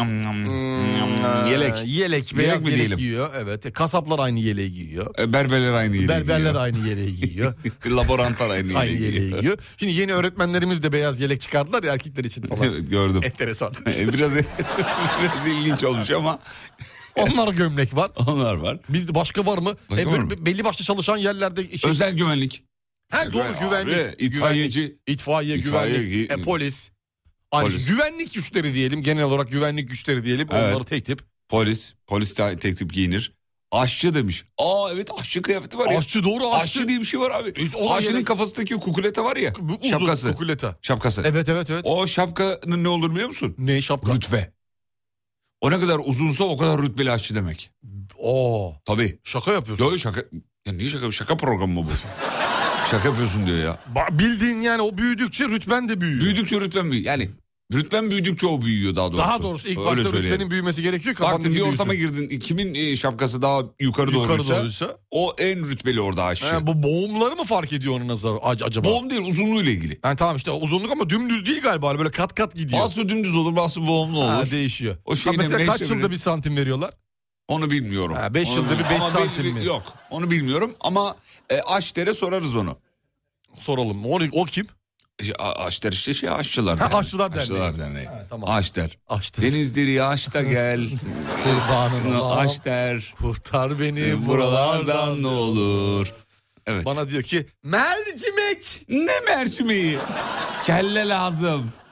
hmm,
Hmm,
yelek.
Yelek,
Yelek
beyaz
mi
yelek
diyelim?
giyiyor. Evet. E, Kasaplar aynı yeleği giyiyor.
E, Berberler aynı yeleği
Berberler
giyiyor.
aynı yeleği giyiyor.
Laborantlar aynı
aynı
yeleği
yeleği
giyiyor.
giyiyor. Şimdi yeni öğretmenlerimiz de beyaz yelek çıkardılar ya erkekler için falan.
Evet, Gördüm. E,
Enteresan.
biraz biraz ilginç olmuş ama
Onlar gömlek var.
onlar var.
Bizde başka var mı?
Başka
E,
var
böyle
mı?
be- Belli başlı çalışan yerlerde şey,
Özel güvenlik.
Ha, doğru
Abi,
güvenlik. güvenlik,
itfaiyeci.
itfaiye,
İtfaiye
güvenlik,
gi-
e, polis. Hani
Polis.
güvenlik güçleri diyelim genel olarak güvenlik güçleri diyelim
Evet.
onları tek tip.
Polis. Polis de tek tip giyinir. Aşçı demiş. Aa evet aşçı kıyafeti var ya.
Aşçı doğru aşçı.
Aşçı, diye bir şey var abi.
E, o da
Aşçının
yelek-
kafasındaki kukulete var ya.
Bu uzun,
şapkası.
kukuleta.
Şapkası.
Evet evet evet.
O şapkanın ne olur biliyor musun?
Ne şapka?
Rütbe. O ne kadar uzunsa o kadar rütbeli aşçı demek.
Oo,
Tabii.
şaka yapıyorsun.
Yo şaka. Ya niye şaka? Şaka programı mı bu? şaka yapıyorsun diyor ya.
Ba- bildiğin yani o büyüdükçe rütben de büyüyor.
Büyüdükçe rütben büyüyor. Yani rütben büyüdükçe o büyüyor daha doğrusu.
Daha doğrusu ilk
Öyle
başta
söyleyelim.
rütbenin büyümesi gerekiyor.
Baktın
kafandaki
bir ortama
büyüsün.
girdin. Kimin e, şapkası daha yukarı,
Yukarı
doğruysa,
doğruysa.
o en rütbeli orada aşçı.
Ha, bu boğumları mı fark ediyor onun nazarı ac-
şey.
acaba?
Boğum değil uzunluğuyla ilgili.
Yani tamam işte uzunluk ama dümdüz değil galiba böyle kat kat gidiyor.
Bazısı dümdüz olur bazısı boğumlu olur.
Ha, değişiyor.
O
Ha,
şeyine
mesela kaç
meşrebine-
yılda bir santim veriyorlar?
Onu bilmiyorum.
Ha, beş
Onu
yılda bir
bilmiyorum.
beş
Ama belli-
santim mi?
Yok onu bilmiyorum ama e, Aşter'e sorarız onu.
Soralım. O, o kim?
E, A- Aşter işte şey aşçılar
Ha,
derneği.
Aşçılar Derneği.
Derneği.
Ha, tamam.
Aşter.
Açtı.
Denizleri aşta gel.
Kurbanın olam.
Aşter.
Kurtar
E,
beni
Buralardan ne olur. Evet.
E, Bana diyor ki mercimek
Ne mercimeği? Kelle lazım.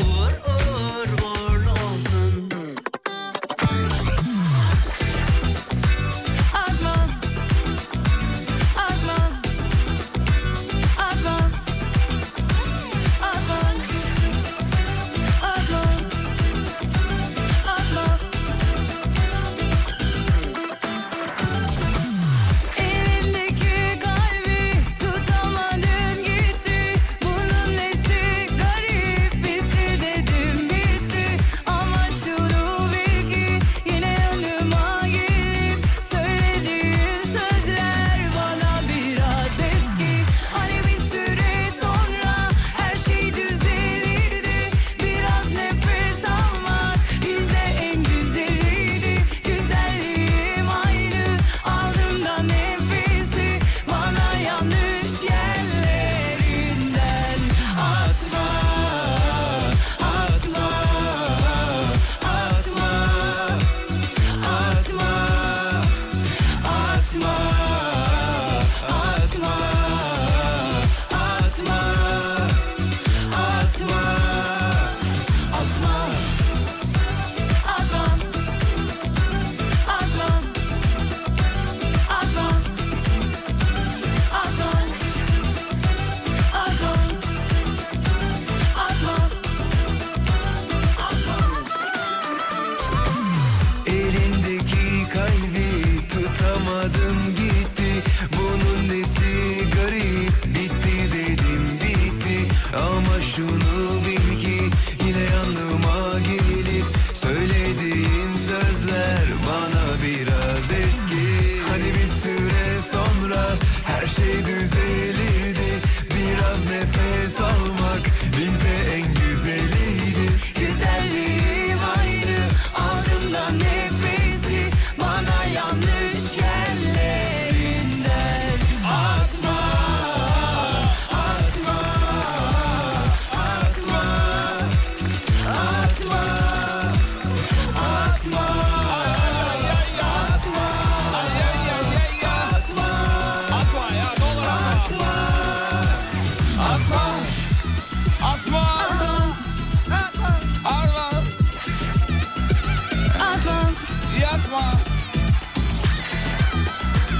uğur uğur uğurlu olsun.
Arman Arman Arman Arman Arman Arman Elindeki kalbi tutamadım gitti Bunun nesi garip bir
Hani şey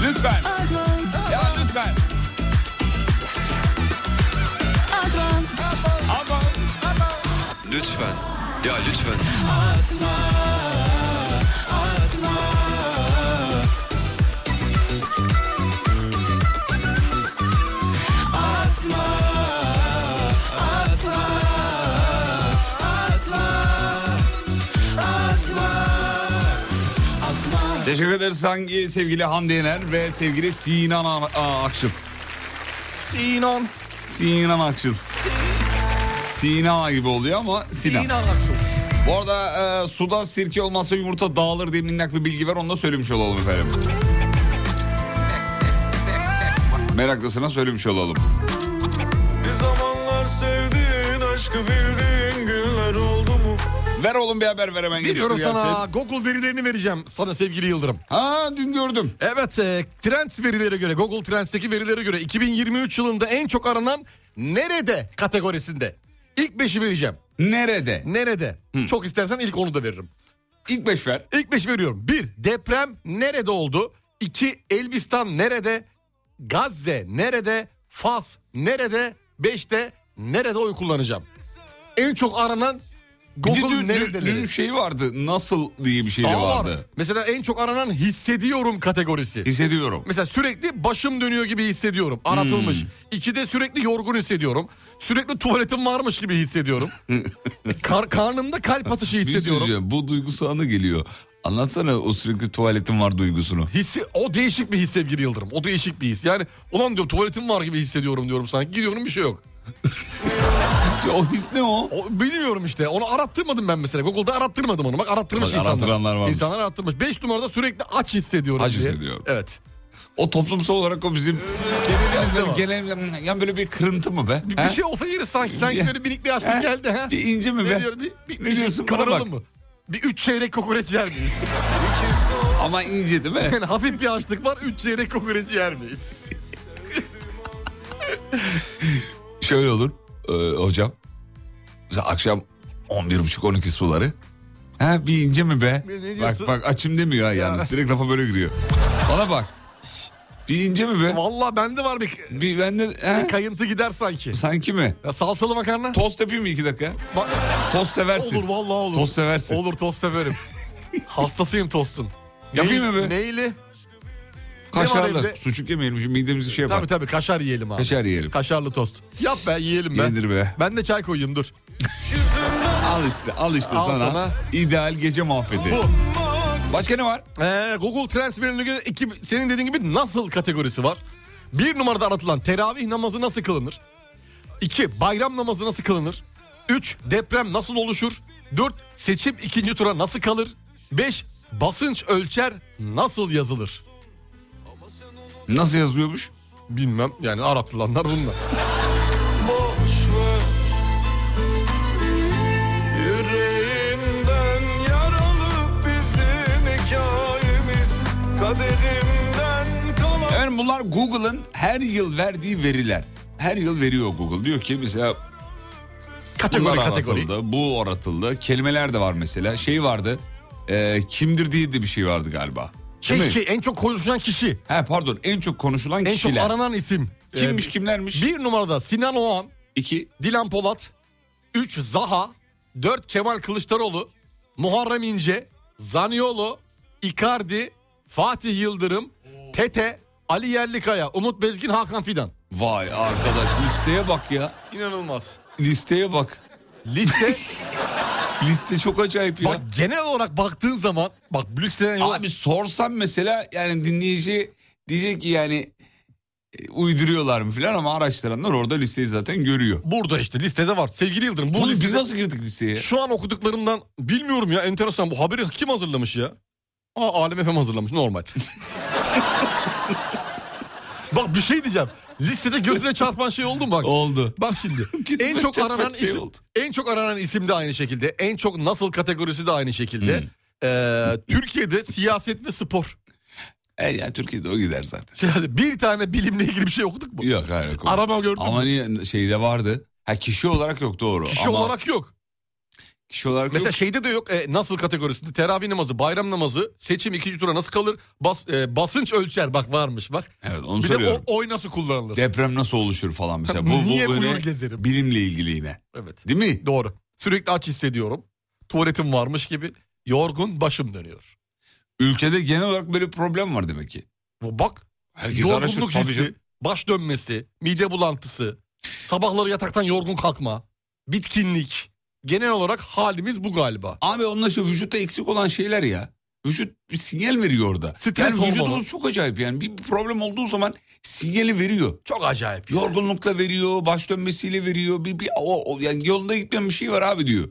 Lütfen. Ya lütfen.
Lütfen. Ya lütfen.
Atma, atma, atma, atma.
Teşekkür ederiz hangi sevgili Hande Yener ve sevgili Sinan A- A- Akçıl.
Sinan.
Sinan Akçıl. Sina gibi oluyor ama Sinan.
Sinan Aksu.
Bu arada e, suda sirke olmazsa yumurta dağılır diye minnak bir bilgi var onu da söylemiş olalım efendim. Meraklısına söylemiş olalım.
Bir zamanlar sevdiğin aşkı bildiğin günler oldu mu?
Ver oğlum bir haber ver hemen.
Veriyorum
geliştir
sana
gelsin.
Google verilerini vereceğim sana sevgili Yıldırım.
Ha dün gördüm.
Evet e, Trends verilere göre Google Trends'teki verilere göre 2023 yılında en çok aranan nerede kategorisinde. İlk 5'i vereceğim.
Nerede?
Nerede? Çok istersen ilk onu da veririm.
İlk 5 ver.
İlk 5 veriyorum. 1. Deprem nerede oldu? 2. Elbistan nerede? Gazze nerede? Fas nerede? 5'te nerede oy kullanacağım? En çok aranan
Bir de
Google
dün, dün,
neredeleri.
dün şey vardı nasıl diye bir şey de
Daha var.
vardı.
Mesela en çok aranan hissediyorum kategorisi.
Hissediyorum.
Mesela sürekli başım dönüyor gibi hissediyorum. Aratılmış.
Hmm.
İkide sürekli yorgun hissediyorum. Sürekli tuvaletim varmış gibi hissediyorum. Kar- karnımda kalp atışı
Bir şey
hissediyorum.
söyleyeceğim, bu duygu sana geliyor. Anlatsana o sürekli tuvaletin var duygusunu.
Hissi, o değişik bir his sevgili Yıldırım. O değişik bir his. Yani ulan diyorum tuvaletim var gibi hissediyorum diyorum sanki. Gidiyorum bir şey yok.
o his ne o?
Bilmiyorum işte. Onu arattırmadım ben mesela. Google'da arattırmadım onu. Bak arattırmış
Bak,
insanlar.
arattıranlar varmış.
İnsanlar arattırmış. 5 numarada sürekli aç hissediyorum
Acı
diye.
hissediyorum.
Evet.
O toplumsal olarak o bizim yani böyle, genel, yani böyle bir kırıntı mı be?
Bir,
He?
bir şey olsa yeriz sanki. Sanki
Ya.
böyle minik bir açlık
He?
geldi. ha?
Bir ince mi
ne
be?
Diyorum, bir, bir,
Ne
bir şey
diyorsun? Bana
kıvıralım
bak.
mı? Bir üç çeyrek kokoreç yer miyiz?
Ama ince değil mi?
Yani hafif bir açlık var. Üç çeyrek kokoreç yer miyiz?
Şöyle olur e, hocam. Mesela akşam 11.30-12 suları. Ha bir ince mi be?
Ne- ne
bak
diyorsun?
bak açım demiyor ha yalnız. Direkt lafa böyle giriyor. Bana bak. Bir ince mi be?
Valla bende var bir...
Bir bende...
Bir kayıntı gider sanki.
Sanki mi?
Ya salçalı makarna.
Tost yapayım mı iki dakika?
Bak-
Tost seversin.
Olur vallahi olur.
Tost seversin.
Olur tost severim. Hastasıyım tostun.
Yapayım mı be?
Neyli? Ne var
Kaşarlı.
evde?
Sucuk yemeyelim. Şimdi midemizi şey yapar.
Tabii tabii kaşar yiyelim abi.
Kaşar yiyelim.
Kaşarlı tost. Yap be yiyelim be.
Yenir be.
Ben de çay koyayım dur.
Al işte al işte
Al
sana,
sana.
ideal gece muhabbeti.
Bu.
Başka ne var?
Ee, Google Trends verilerine göre iki, senin dediğin gibi nasıl kategorisi var? Bir numarada aratılan teravih namazı nasıl kılınır? İki, bayram namazı nasıl kılınır? Üç, deprem nasıl oluşur? Dört, seçim ikinci tura nasıl kalır? Beş, basınç ölçer nasıl yazılır?
Nasıl yazıyormuş?
Bilmem yani aratılanlar bunlar.
Yüreğimden yaralı bizim hikayemiz Kaderimden kalan
Efendim bunlar Google'ın her yıl verdiği veriler. Her yıl veriyor Google. Diyor ki mesela
Kategori,
bunlar
kategori.
aratıldı, bu aratıldı. Kelimeler de var mesela. Şey vardı. e, kimdir diye de bir şey vardı galiba. Değil
Şey
mi?
ki en çok konuşulan kişi.
He pardon en çok konuşulan
En
kişiler.
çok aranan isim. Ee,
Kimmiş, kimlermiş?
Bir numarada Sinan Oğan.
İki.
Dilan Polat. Üç Zaha. Dört Kemal Kılıçdaroğlu. Muharrem İnce. Zaniolo. Icardi. Fatih Yıldırım. Tete. Ali Yerlikaya. Umut Bezgin. Hakan Fidan.
Vay arkadaş listeye bak ya.
İnanılmaz.
Listeye bak.
Liste.
Liste çok acayip ya.
bak genel olarak baktığın zaman bak listeden yok.
Abi sorsam mesela yani dinleyici diyecek ki yani e, uyduruyorlar mı filan ama araştıranlar orada listeyi zaten görüyor.
Burada işte listede var. Sevgili Yıldırım.
Oğlum
Bu
biz
listede-
nasıl girdik listeye?
Şu an okuduklarımdan bilmiyorum ya enteresan bu haberi kim hazırlamış ya? Aa Alem Efem hazırlamış normal. bak bir şey diyeceğim. Listede gözüne çarpan şey oldu mu bak?
Oldu.
Bak şimdi. en
Gözüme
çok
çarpan
aranan
şey
isim,
oldu.
en çok aranan isim de aynı şekilde. En çok nasıl kategorisi de aynı şekilde.
Hmm.
Ee, Türkiye'de siyaset ve spor.
E ya Türkiye'de o gider zaten.
Yani bir tane bilimle ilgili bir şey okuduk mu?
Yok hayır. yok.
Arama gördün
Ama
mü?
niye şeyde vardı. Ha kişi olarak yok doğru.
Kişi
Ama
olarak yok.
Kişi olarak
Mesela
yok.
şeyde de yok e, nasıl kategorisinde teravih namazı, bayram namazı, seçim ikinci tura nasıl kalır, bas, e, basınç ölçer bak varmış bak.
Evet, onu
bir
soruyorum.
de o, oy nasıl kullanılır.
Deprem nasıl oluşur falan mesela. Bu,
Niye
bu
buyur
böyle
gezerim?
bilimle ilgili yine.
Evet.
Değil mi?
Doğru. Sürekli aç hissediyorum. Tuvaletim varmış gibi. Yorgun başım dönüyor.
Ülkede genel olarak böyle bir problem var demek ki.
Bak.
Herkes araştırıyor,
yorgunluk
tabii
hissi,
canım.
baş dönmesi, mide bulantısı, sabahları yataktan yorgun kalkma, bitkinlik. Genel olarak halimiz bu galiba.
Abi onunla işte vücutta eksik olan şeyler ya. Vücut bir sinyal veriyor orada.
Stres
yani
hormonu.
vücudumuz çok acayip yani. Bir problem olduğu zaman sinyali veriyor.
Çok acayip.
Yorgunlukla veriyor, baş dönmesiyle veriyor. Bir, bir o, o- yani yolunda gitmeyen bir şey var abi diyor.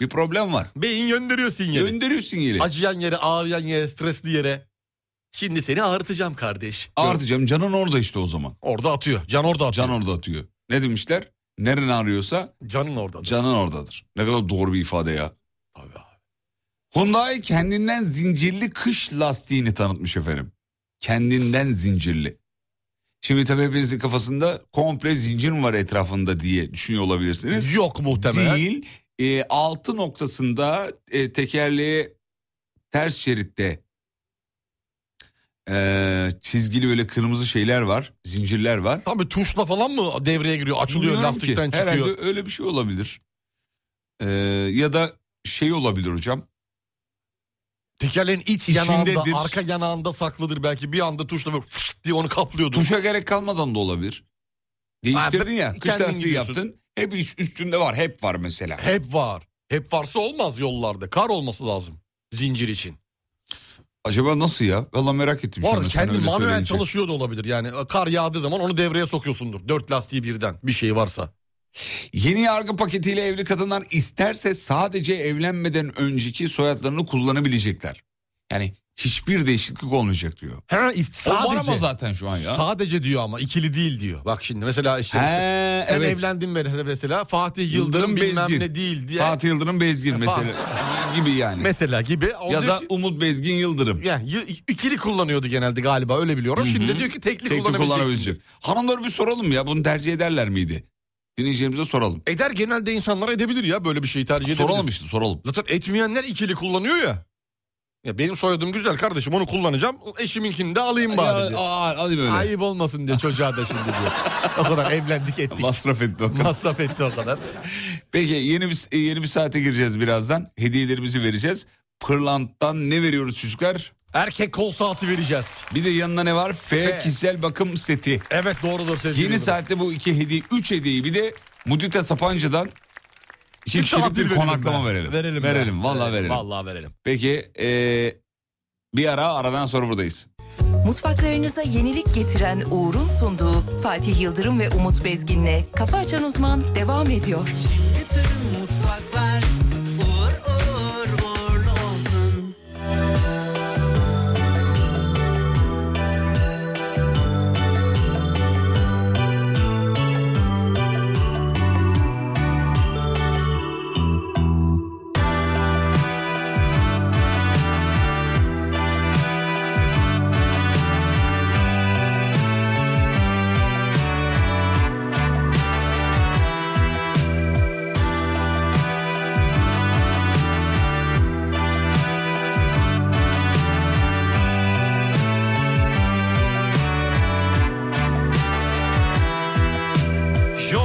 Bir problem var.
Beyin gönderiyor sinyali.
Gönderiyor sinyali.
Acıyan yere, ağrıyan yere, stresli yere. Şimdi seni ağırtacağım kardeş.
Artıcam canın orada işte o zaman.
Orada atıyor. Can orada atıyor.
Can orada atıyor. Ne demişler? Neren ağrıyorsa
Canın orada.
canın oradadır. Ne kadar doğru bir ifade ya. Hyundai kendinden zincirli kış lastiğini tanıtmış efendim. Kendinden zincirli. Şimdi tabii hepinizin kafasında komple zincir mi var etrafında diye düşünüyor olabilirsiniz.
Yok muhtemelen.
Değil. E, altı noktasında e, tekerleğe ters şeritte e, çizgili böyle kırmızı şeyler var. Zincirler var.
Tabii tuşla falan mı devreye giriyor? Açılıyor
Bilmiyorum
lastikten
ki.
çıkıyor.
Herhalde öyle bir şey olabilir. Ee, ya da şey olabilir hocam.
Tekerleğin iç
İçindedir.
yanağında, arka yanağında saklıdır belki. Bir anda tuşla böyle fışt diye onu kaplıyordur.
Tuşa gerek kalmadan da olabilir.
Ha,
Değiştirdin
ben-
ya. Kış
kendin
lastiği
gidiyorsun.
yaptın. Hep iç- üstünde var. Hep var mesela.
Hep var. Hep varsa olmaz yollarda. Kar olması lazım zincir için.
Acaba nasıl ya? Valla merak ettim
Bu
şu
arada
anda sen
kendi
öyle
manuel
söyleyince.
çalışıyor da olabilir. Yani e, kar yağdığı zaman onu devreye sokuyorsundur. Dört lastiği birden bir şey varsa.
Yeni yargı paketiyle evli kadınlar isterse sadece evlenmeden önceki soyadlarını kullanabilecekler. Yani hiçbir değişiklik olmayacak diyor.
Ha, is-
O var
sadece,
ama zaten şu an ya.
Sadece diyor ama ikili değil diyor. Bak şimdi mesela işte
He,
sen
evet.
evlendin ve- mesela Fatih Yıldırım,
Yıldırım
bilmem
Bezgin.
ne değil diye.
Fatih Yıldırım Bezgin
Fa-
mesela gibi yani.
Mesela gibi. O
ya
diyor
da
ki-
Umut Bezgin Yıldırım.
Yani y- ikili kullanıyordu genelde galiba öyle biliyorum.
Hı hı.
Şimdi de diyor ki tekli,
Tekli kullanabilecek.
kullanabilecek.
Hanımları bir soralım ya bunu tercih ederler miydi? Dinleyicilerimize soralım.
Eder genelde insanlar edebilir ya böyle bir şeyi tercih edebilir.
Soralım işte soralım.
Zaten etmeyenler ikili kullanıyor ya. Ya benim soyadım güzel kardeşim onu kullanacağım. Eşiminkini de alayım bari
Ya,
diyor.
aa, hadi böyle.
Ayıp olmasın diyor çocuğa da şimdi diyor. O kadar evlendik ettik.
Masraf etti o kadar.
Masraf etti o kadar.
Peki yeni bir, yeni bir saate gireceğiz birazdan. Hediyelerimizi vereceğiz. Pırlant'tan ne veriyoruz çocuklar?
Erkek kol saati vereceğiz.
Bir de yanına ne var? F,
F.
kişisel bakım seti.
Evet doğrudur sevgili.
Yeni
Yıldırım.
saatte bu iki hediye, üç hediyeyi bir de Mudita Sapanca'dan iki
Bir
kişilik
tatil
bir
verelim
konaklama
be.
verelim.
Verelim. be.
Verelim. Vallahi verelim.
Vallahi verelim.
Peki ee, bir ara aradan sonra buradayız.
Mutfaklarınıza yenilik getiren Uğur'un sunduğu Fatih Yıldırım ve Umut Bezgin'le Kafa Açan Uzman devam ediyor.
mutfaklar uğur uğur uğurlu olsun.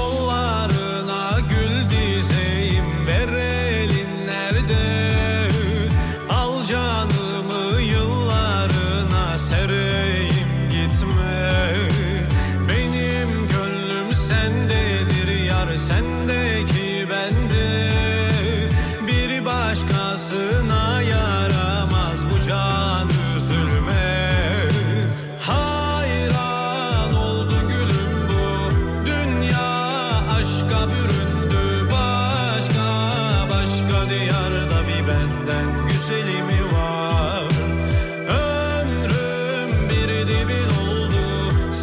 Yollarına gül dizeyim ver elin nerede Al canımı yıllarına sereyim gitme Benim gönlüm sendedir yar sendeki bende Bir başkasına yaramaz bu can üzülme Hayran oldu gülüm bu Dünya aşka büründü başka başka diyarda bir benden güzeli mi var? Ömrüm bir dibin oldu,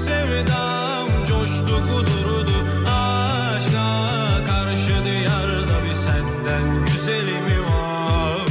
sevdam coştu kudurdu aşka karşı diyarda bir senden güzeli mi var?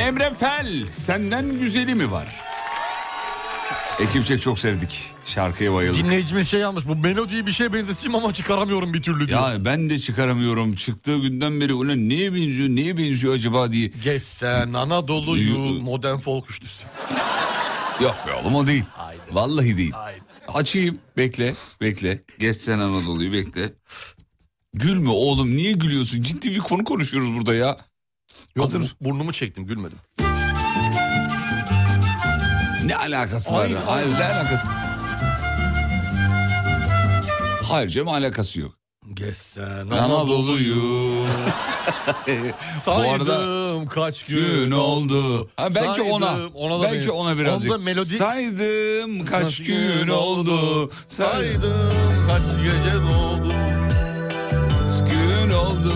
Emre Fel senden güzeli mi var? Ekipçe çok sevdik. Şarkıya bayıldık.
Dinleyicimiz şey yapmış. Bu melodiyi bir şeye benzeteyim ama çıkaramıyorum bir türlü diyor.
Ya ben de çıkaramıyorum. Çıktığı günden beri ulan neye benziyor, neye benziyor acaba diye.
Geçsen Anadolu'yu modern folk üçlüsü.
Yok be oğlum o değil. Vallahi değil. Açayım bekle bekle. Geçsen Anadolu'yu bekle. Gülme oğlum niye gülüyorsun? Ciddi bir konu konuşuyoruz burada ya.
Yok, bu- burnumu çektim gülmedim.
Ne alakası var?
Ay,
ya?
ay.
Hayır ne alakası? Hayır Cem alakası yok.
Geçsen
Anadolu'yu. Bu
Saydım
arada
kaç gün,
gün oldu. Ha, belki
Saydım,
ona.
ona da
belki
benziyor.
ona birazcık.
Onda melodi.
Saydım kaç
Kaç
gün
gün
oldu. Saydım
Saydım kaç gece oldu.
kaç gün oldu.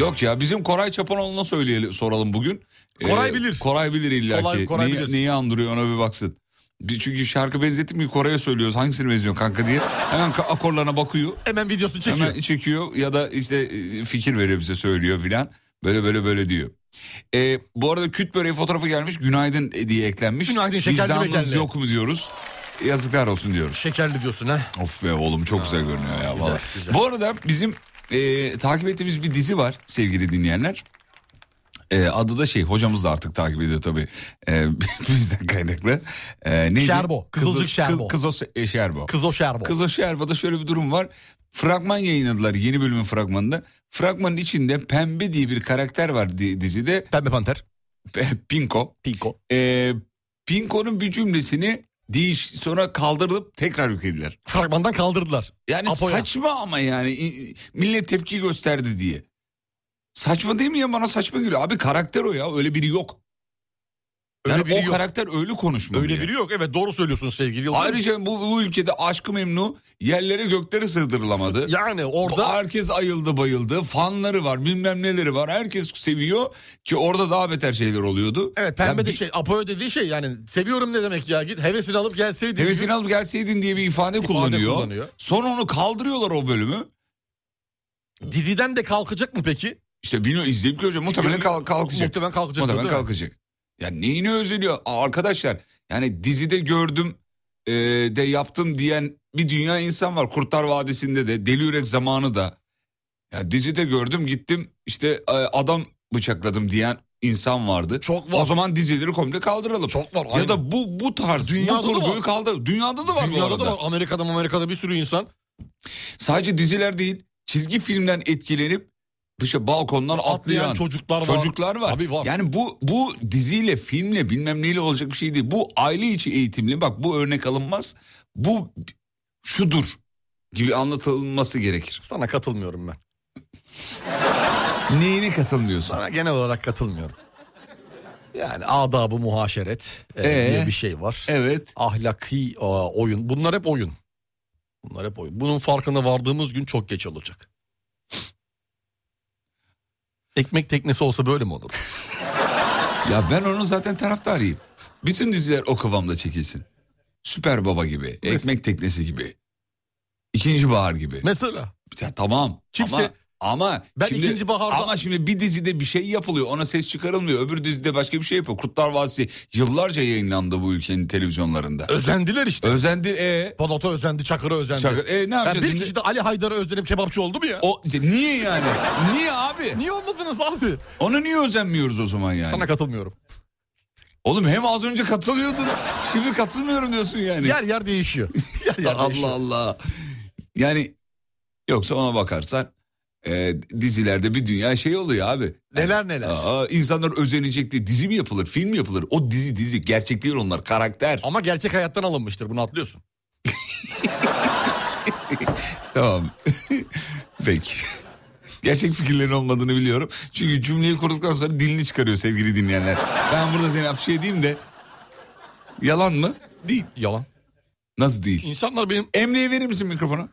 Yok ya bizim Koray Çapanoğlu'na söyleyelim soralım bugün.
Koray
Ee,
bilir.
Koray bilir illa
Kolay-
ki.
Koray
neyi,
bilir.
neyi andırıyor ona bir baksın. Biz çünkü şarkı benzettik mi Koray'a söylüyoruz hangisini benziyor kanka diye. Hemen ka- akorlarına bakıyor.
Hemen videosunu çekiyor.
Hemen çekiyor ya da işte e, fikir veriyor bize söylüyor filan. Böyle böyle böyle diyor. Ee, bu arada küt böreği fotoğrafı gelmiş günaydın e, diye eklenmiş.
Günaydın, şekerli
Vicdanınız
mekerli.
yok mu diyoruz. Yazıklar olsun diyoruz.
Şekerli diyorsun ha.
Of be oğlum çok güzel görünüyor ya vallahi. Bu arada bizim e, takip ettiğimiz bir dizi var sevgili dinleyenler. E, adı da şey hocamız da artık takip ediyor tabii e, bizden kaynaklı. E, neydi?
Şerbo, Kızılcık
Kızıl-
Şerbo.
Kı- Kızos- e, Şerbo.
Kız o şerbo.
Kız Hoş Erba'da şöyle bir durum var. Fragman yayınladılar yeni bölümün fragmanında. Fragmanın içinde Pembe diye bir karakter var di- dizide.
Pembe Panter.
Pinko.
Pinko.
Ee, Pinko'nun bir cümlesini değiş sonra kaldırıp tekrar yüklediler.
Fragmandan kaldırdılar.
Yani
Apo'ya.
saçma ama yani İ- millet tepki gösterdi diye. Saçma değil mi ya bana saçma geliyor. Abi karakter o ya öyle biri yok.
Öyle
yani
biri
o
yok.
karakter öyle konuşmuyor.
Öyle biri yok. Evet doğru söylüyorsun sevgili Yıldırım.
Ayrıca bu, bu ülkede aşkı memnu yerlere göklere sığdırılamadı.
Yani
Bu
orada
Herkes ayıldı bayıldı. Fanları var bilmem neleri var. Herkes seviyor ki orada daha beter şeyler oluyordu.
Evet pembe de şey Apo'ya dediği şey yani seviyorum ne demek ya git hevesini alıp gelseydin.
Hevesini alıp gelseydin diye bir ifade, kullanıyor.
kullanıyor.
Sonra onu kaldırıyorlar o bölümü.
Diziden de kalkacak mı peki?
İşte bilmiyorum izleyip göreceğim. Muhtemelen kalk- kalkacak.
Muhtemelen kalkacak.
Muhtemelen
değil mi?
kalkacak. Ya neyini özeliyor? Aa, Arkadaşlar yani dizide gördüm e, de yaptım diyen bir dünya insan var. Kurtlar Vadisi'nde de Deli Yürek zamanı da. Ya dizide gördüm gittim işte e, adam bıçakladım diyen insan vardı.
Çok var.
O zaman dizileri komple kaldıralım.
Çok var, aynen.
Ya da bu bu tarz
Dünyada da
bu kurguyu
var.
kaldır. Dünyada da var bu
Dünyada
arada.
da var. Amerika'da Amerika'da bir sürü insan.
Sadece diziler değil çizgi filmden etkilenip dışa balkondan atlayan,
Atlayan çocuklar var.
Çocuklar var.
Tabii var.
Yani bu bu diziyle, filmle bilmem neyle olacak bir şey değil. Bu aile içi eğitimli. Bak bu örnek alınmaz. Bu şudur gibi anlatılması gerekir.
Sana katılmıyorum ben.
Neyine katılmıyorsun?
Sana genel olarak katılmıyorum. Yani adabı muhaşeret e,
Ee?
diye bir şey var.
Evet.
Ahlaki e, oyun. Bunlar hep oyun. Bunlar hep oyun. Bunun farkına vardığımız gün çok geç olacak. Ekmek teknesi olsa böyle mi olur?
Ya ben onun zaten taraftarıyım. Bütün diziler o kıvamda çekilsin. Süper Baba gibi, Ekmek Teknesi gibi, İkinci Bahar gibi.
Mesela
Ya tamam.
Kimse-
Ama, ama
Ben ikinci baharda-
ama şimdi bir dizide bir şey yapılıyor ona ses çıkarılmıyor. Öbür dizide başka bir şey yapıyor. Kurtlar Vadisi yıllarca yayınlandı bu ülkenin televizyonlarında.
özendiler işte.
Özendi e
Polat'a özendi, Çakır'a özendi.
Çakır- E, ne
Ya
yapacağız
bir
şimdi?
kişi de Ali Haydar'a özenip kebapçı oldu mu ya?
o işte niye yani? niye abi?
Niye olmadınız abi?
Ona niye özenmiyoruz o zaman yani?
Sana katılmıyorum.
Oğlum hem az önce katılıyordun. şimdi katılmıyorum diyorsun yani.
Yer yer değişiyor. Yer yer
Allah
değişiyor.
Allah. Yani yoksa ona bakarsan e, dizilerde bir dünya şey oluyor abi.
Neler neler.
Aa, insanlar özenecek diye dizi mi yapılır, film mi yapılır? O dizi dizi, gerçek değil onlar, karakter.
Ama gerçek hayattan alınmıştır bunu atlıyorsun.
Tamam. Peki. Gerçek fikirlerin olmadığını biliyorum. Çünkü cümleyi kurduktan sonra dilini çıkarıyor sevgili dinleyenler. Ben burada seni afişe edeyim de. Yalan mı? Değil.
Yalan.
Nasıl değil?
İnsanlar benim
Emre'ye verir misin mikrofonu?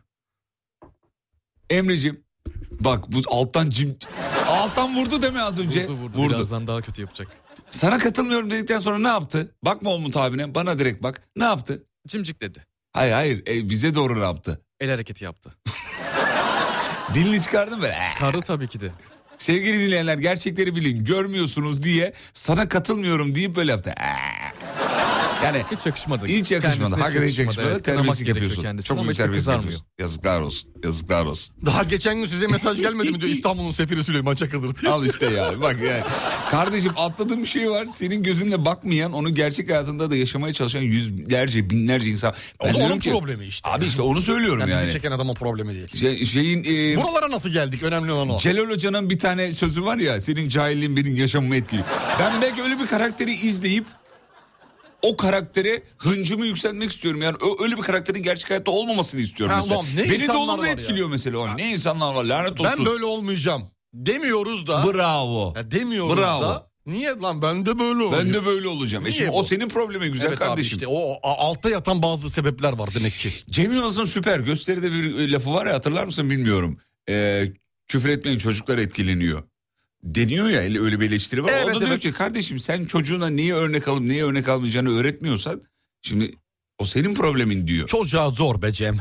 Emre'cim. Bak bu alttan cim... Alttan vurdu deme az önce.
Vurdu vurdu. Birazdan daha kötü yapacak.
Sana katılmıyorum dedikten sonra ne yaptı? Bakma Umut abine bana direkt bak. Ne yaptı?
Cimcik dedi.
Hayır hayır e, bize doğru ne yaptı?
El hareketi yaptı.
Dilini çıkardın mı? Çıkardı
tabii ki de.
Sevgili dinleyenler gerçekleri bilin görmüyorsunuz diye sana katılmıyorum deyip böyle yaptı. Eee. Yani hiç yakışmadı. Hiç yakışmadı.
şey
Kendisine
Hakikaten hiç
yakışmadı,
yakışmadı.
evet. Kınamak
Terbiyesizlik
gerekiyor
yapıyorsun.
kendisine
Çok
ama
büyük
işte
terbiyesizlik
kızarmıyor.
yapıyorsun. Yazıklar olsun. Yazıklar olsun.
Daha geçen gün size mesaj gelmedi mi diyor İstanbul'un sefiri Süleyman Çakılır diye.
Al işte ya bak yani. Kardeşim atladığım bir şey var. Senin gözünle bakmayan onu gerçek hayatında da yaşamaya çalışan yüzlerce binlerce insan.
O da
diyorum
onun problemi işte.
Abi işte onu söylüyorum
Yani
yani.
bizi çeken adamın problemi değil.
Şey- şeyin... e,
Buralara nasıl geldik önemli olan o.
Celal Hoca'nın bir tane sözü var ya senin cahilliğin benim yaşamımı etkiliyor. Ben belki öyle bir karakteri izleyip o karaktere hıncımı yükseltmek istiyorum. Yani ö- öyle bir karakterin gerçek hayatta olmamasını istiyorum
Ha,
mesela.
ulan ne
Beni de
insanlar
olumlu
var ya.
etkiliyor mesela. o. Ne insanlar var lanet olsun.
Ben böyle olmayacağım demiyoruz da.
Bravo.
Ya demiyoruz
Bravo.
da. Niye lan ben de böyle olacağım.
Ben de böyle olacağım. E
Niye
şimdi
bu?
o senin problemi güzel
Evet abi
kardeşim.
işte o a- altta yatan bazı sebepler var demek ki.
Cem Yılmaz'ın süper gösteride bir e, lafı var ya hatırlar mısın bilmiyorum. Ee, küfür etmeyin çocuklar etkileniyor. Deniyor ya ele- öyle bir eleştiri var.
Evet,
o da diyor
evet.
ki kardeşim sen çocuğuna niye örnek alıp niye örnek almayacağını öğretmiyorsan şimdi o senin problemin diyor.
Çocuğa zor be Cem.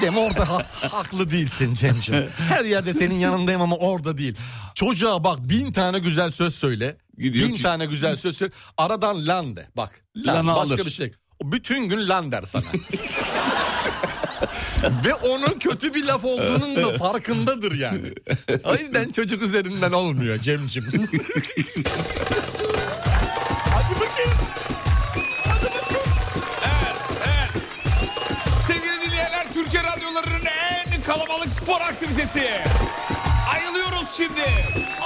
Cem orada ha- haklı değilsin Cemciğim. Her yerde senin yanındayım ama orada değil. Çocuğa bak bin tane güzel söz söyle.
Gidiyor
bin
ki-
tane güzel söz söyle. Aradan lan de bak. Lan,
Lan'ı
başka
alır.
bir şey. O bütün gün lan der sana. Ve onun kötü bir laf olduğunun da farkındadır yani. O yüzden çocuk üzerinden olmuyor Cemciğim.
Sevgili dinleyenler Türkiye radyolarının en kalabalık spor aktivitesi. Ayılıyoruz şimdi.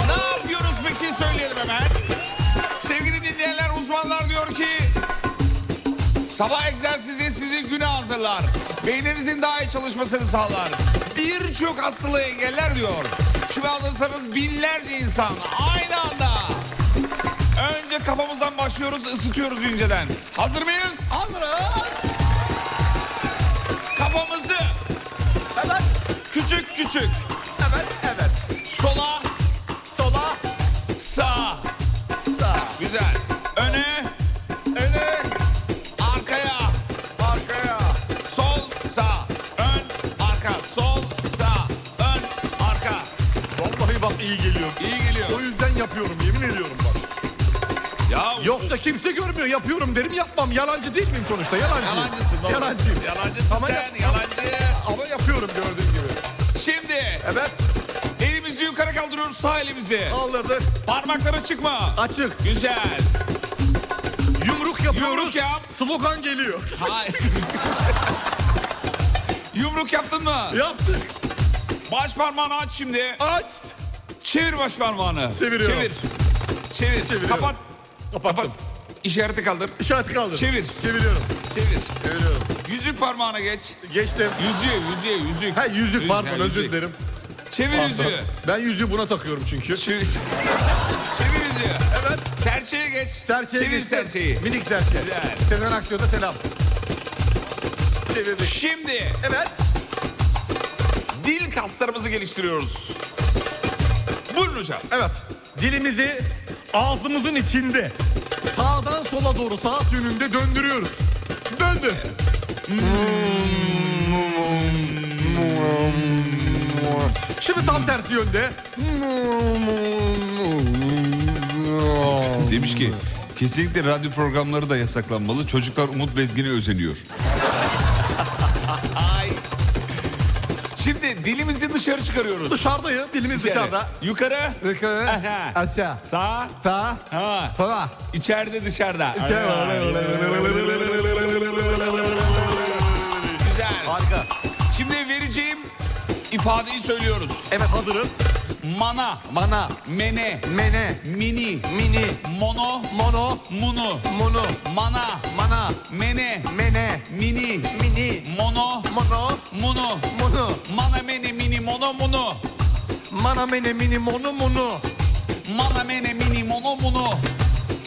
Ne yapıyoruz peki söyleyelim hemen. Sevgili dinleyenler uzmanlar diyor ki sabah egzersizi sizi güne hazırlar. Beyninizin daha iyi çalışmasını sağlar. Birçok hastalığı engeller diyor. Şimdi alırsanız binlerce insan aynı anda. Önce kafamızdan başlıyoruz ısıtıyoruz inceden. Hazır mıyız?
Hazırız.
Kafamızı
Evet.
küçük küçük
Evet evet.
sola
Sola
sağa
sağ.
güzel öne
Öne
arkaya
arkaya.
sol sağ ön arka sol sağ ön arka
Vallahi bak iyi geliyor.
iyi geliyor.
O yüzden yapıyorum yemin ediyorum bak.
Ya
Yoksa kimse görmüyor yapıyorum derim yapmam. Yalancı değil miyim sonuçta yalancıyım.
Yalancısın baba.
Yalancıyım.
Yalancısın
Ama
sen
yap-
yalancı.
Ama yapıyorum gördüğün gibi.
Şimdi
Evet
elimizi yukarı kaldırıyoruz sağ elimizi.
kaldırdık
Parmaklara çıkma.
açık.
Güzel.
Yumruk yapıyoruz.
Yumruk yap.
Slogan geliyor.
Hayır. Yumruk yaptın mı?
Yaptık.
Baş parmağını aç şimdi.
Aç.
Çevir baş parmağını.
Çeviriyorum.
Çevir. Çevir.
Çeviriyorum.
Kapat.
Kapattım.
İşareti kaldır.
İşaret kaldır.
Çevir.
Çeviriyorum.
Çevir.
Çeviriyorum.
Yüzük parmağına geç.
Geçtim.
Yüzüğe, yüzüğe, yüzük.
Ha yüzük pardon
ha,
özür
yüzük.
dilerim.
Çevir yüzüğü.
Ben yüzüğü buna takıyorum çünkü.
Çevir. Çevir yüzüğü.
Evet.
Serçeye geç.
Serçeye
Çevir
geçtim.
serçeyi.
Minik serçe.
Güzel.
Sezen Aksu'ya da selam. Çevirdik.
Şimdi
Evet.
dil kaslarımızı geliştiriyoruz. Buyurun hocam.
Evet. Dilimizi ağzımızın içinde sağdan sola doğru saat yönünde döndürüyoruz. Döndü. Şimdi tam tersi yönde.
Demiş ki kesinlikle radyo programları da yasaklanmalı. Çocuklar Umut Bezgin'e özeniyor. Şimdi dilimizi dışarı çıkarıyoruz.
Dışarıdayız, dilimiz
İçeri.
dışarıda.
Yukarı. Aha.
Aşağı.
Sağ.
Sağ.
Ha.
Sola. Şey
İçeride dışarıda. Güzel.
Harika.
Şimdi vereceğim ifadeyi söylüyoruz.
Evet hazırız.
Mana,
Mana,
mene,
mene,
mini,
mini,
mono,
mono,
munu,
munu,
mana,
mana,
mene,
mene,
mini,
mini,
mono,
mono,
munu,
munu,
mana, mene, mini, mono, munu,
mana, mene, mini, monu, munu,
mana, mene, mini, mono, munu,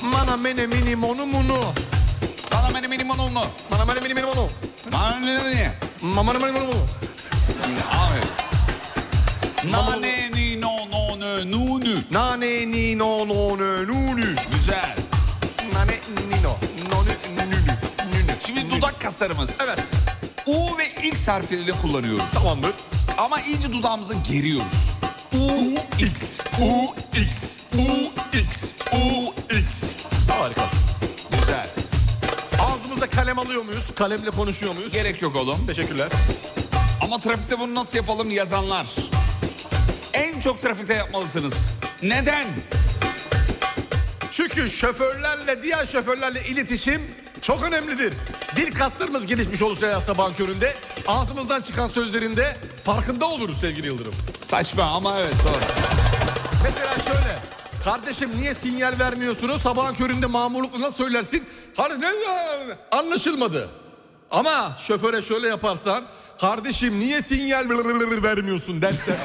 mana, mene, mini, monu, munu,
mana, mene, mini, mono, munu,
mana, mene, mini, mini, monu,
mana, mene,
mana, mene, mini, monu,
Abi. Nane ni no no nö nunu.
nane, ni, no, no, nö, nunu,
Güzel.
nane, ni, no, no, nü, nünü, nünü.
Şimdi dudak makaslarımız. Evet. U ve X harfleriyle kullanıyoruz. Tamamdır. Ama iyice dudağımıza geriyoruz. U, X, U, X, U, X, U, X.
Harika. Güzel. Ağzımızda kalem alıyor muyuz? Kalemle konuşuyor muyuz?
Gerek yok oğlum.
Teşekkürler.
Ama trafikte bunu nasıl yapalım yazanlar. En çok trafikte yapmalısınız. Neden?
Çünkü şoförlerle diğer şoförlerle iletişim çok önemlidir. Dil kaslarımız gelişmiş olursa yasa banköründe ağzımızdan çıkan sözlerinde farkında oluruz sevgili Yıldırım.
Saçma ama evet doğru.
Mesela şöyle. Kardeşim niye sinyal vermiyorsunuz? Sabahın köründe mamurlukla nasıl söylersin? Hani ne anlaşılmadı. Ama şoföre şöyle yaparsan kardeşim niye sinyal vermiyorsun dersen.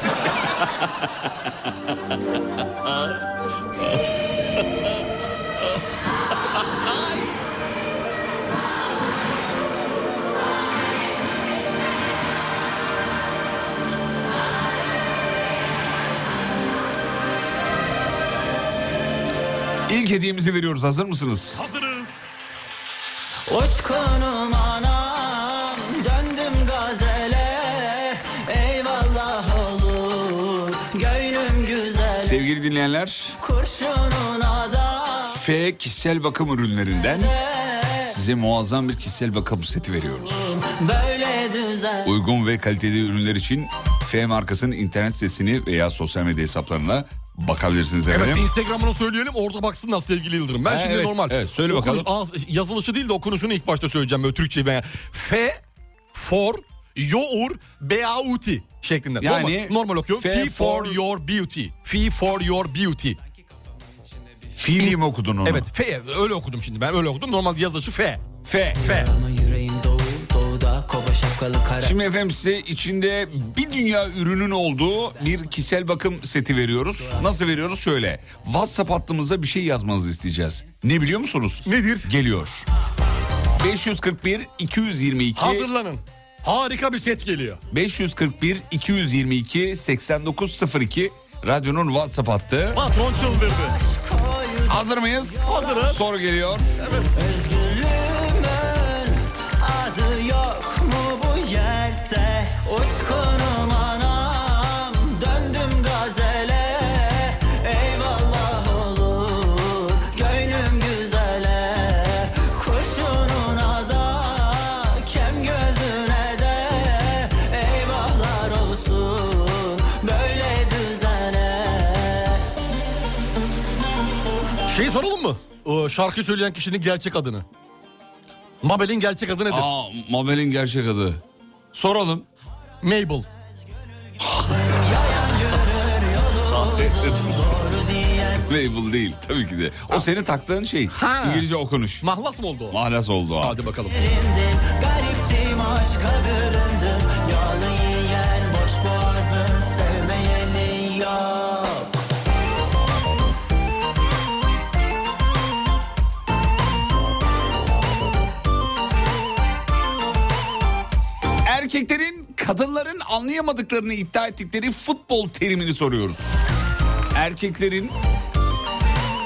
İlk hediyemizi veriyoruz. Hazır mısınız?
Hazırız.
Uçkunum anam döndüm gazele eyvallah olur gönlüm güzel
Sevgili dinleyenler,
kurşunun ada
F kişisel bakım ürünlerinden
E,
size muazzam bir kişisel bakım seti veriyoruz.
böyle düzel
Uygun ve kaliteli ürünler için F markasının internet sitesini veya sosyal medya hesaplarına bakabilirsiniz
Evet
efendim.
Instagram'ını söyleyelim orada baksınlar sevgili Yıldırım. Ben
Ha,
şimdi
evet,
normal.
evet, söyle
okunuş-
bakalım.
ağız- yazılışı değil de okunuşunu ilk başta söyleyeceğim böyle Türkçe'yi ben. F for your beauty şeklinde.
Yani
normal, normal okuyorum.
F
F for
for-
your beauty. F for your beauty.
Fi diye mi okudun onu?
Evet F öyle okudum şimdi ben öyle okudum. Normal yazılışı F.
F.
F.
Şimdi efendim size içinde bir dünya ürünün olduğu bir kişisel bakım seti veriyoruz. Nasıl veriyoruz? Şöyle. WhatsApp hattımıza bir şey yazmanızı isteyeceğiz. Ne biliyor musunuz?
Nedir?
Geliyor. 541 222
Hazırlanın. Harika bir set geliyor.
541 222 8902 radyonun WhatsApp hattı.
Patron çıldırdı.
Hazır mıyız?
Hazırız.
Soru geliyor.
Özgürlüğümün adı yok mu bu yerde? Uçkunum anam döndüm gazele Eyvallah olur gönlüm güzele Kurşununa da kem gözüne de Eyvahlar olsun böyle düzene
Şey soralım mı? Ee, şarkı söyleyen kişinin gerçek adını. Mabel'in gerçek adı nedir?
Aa, Mabel'in gerçek adı. Soralım.
Mabel.
Mabel değil tabii ki de. O senin taktığın şey.
Ha.
İngilizce okunuş.
Mahlas mı oldu o?
Mahlas oldu abi.
Hadi bakalım.
Gariptim aşka büründüm Yağlı yiyen boş boğazım Sevmeyeni yok
Erkeklerin kadınların anlayamadıklarını iddia ettikleri futbol terimini soruyoruz. Erkeklerin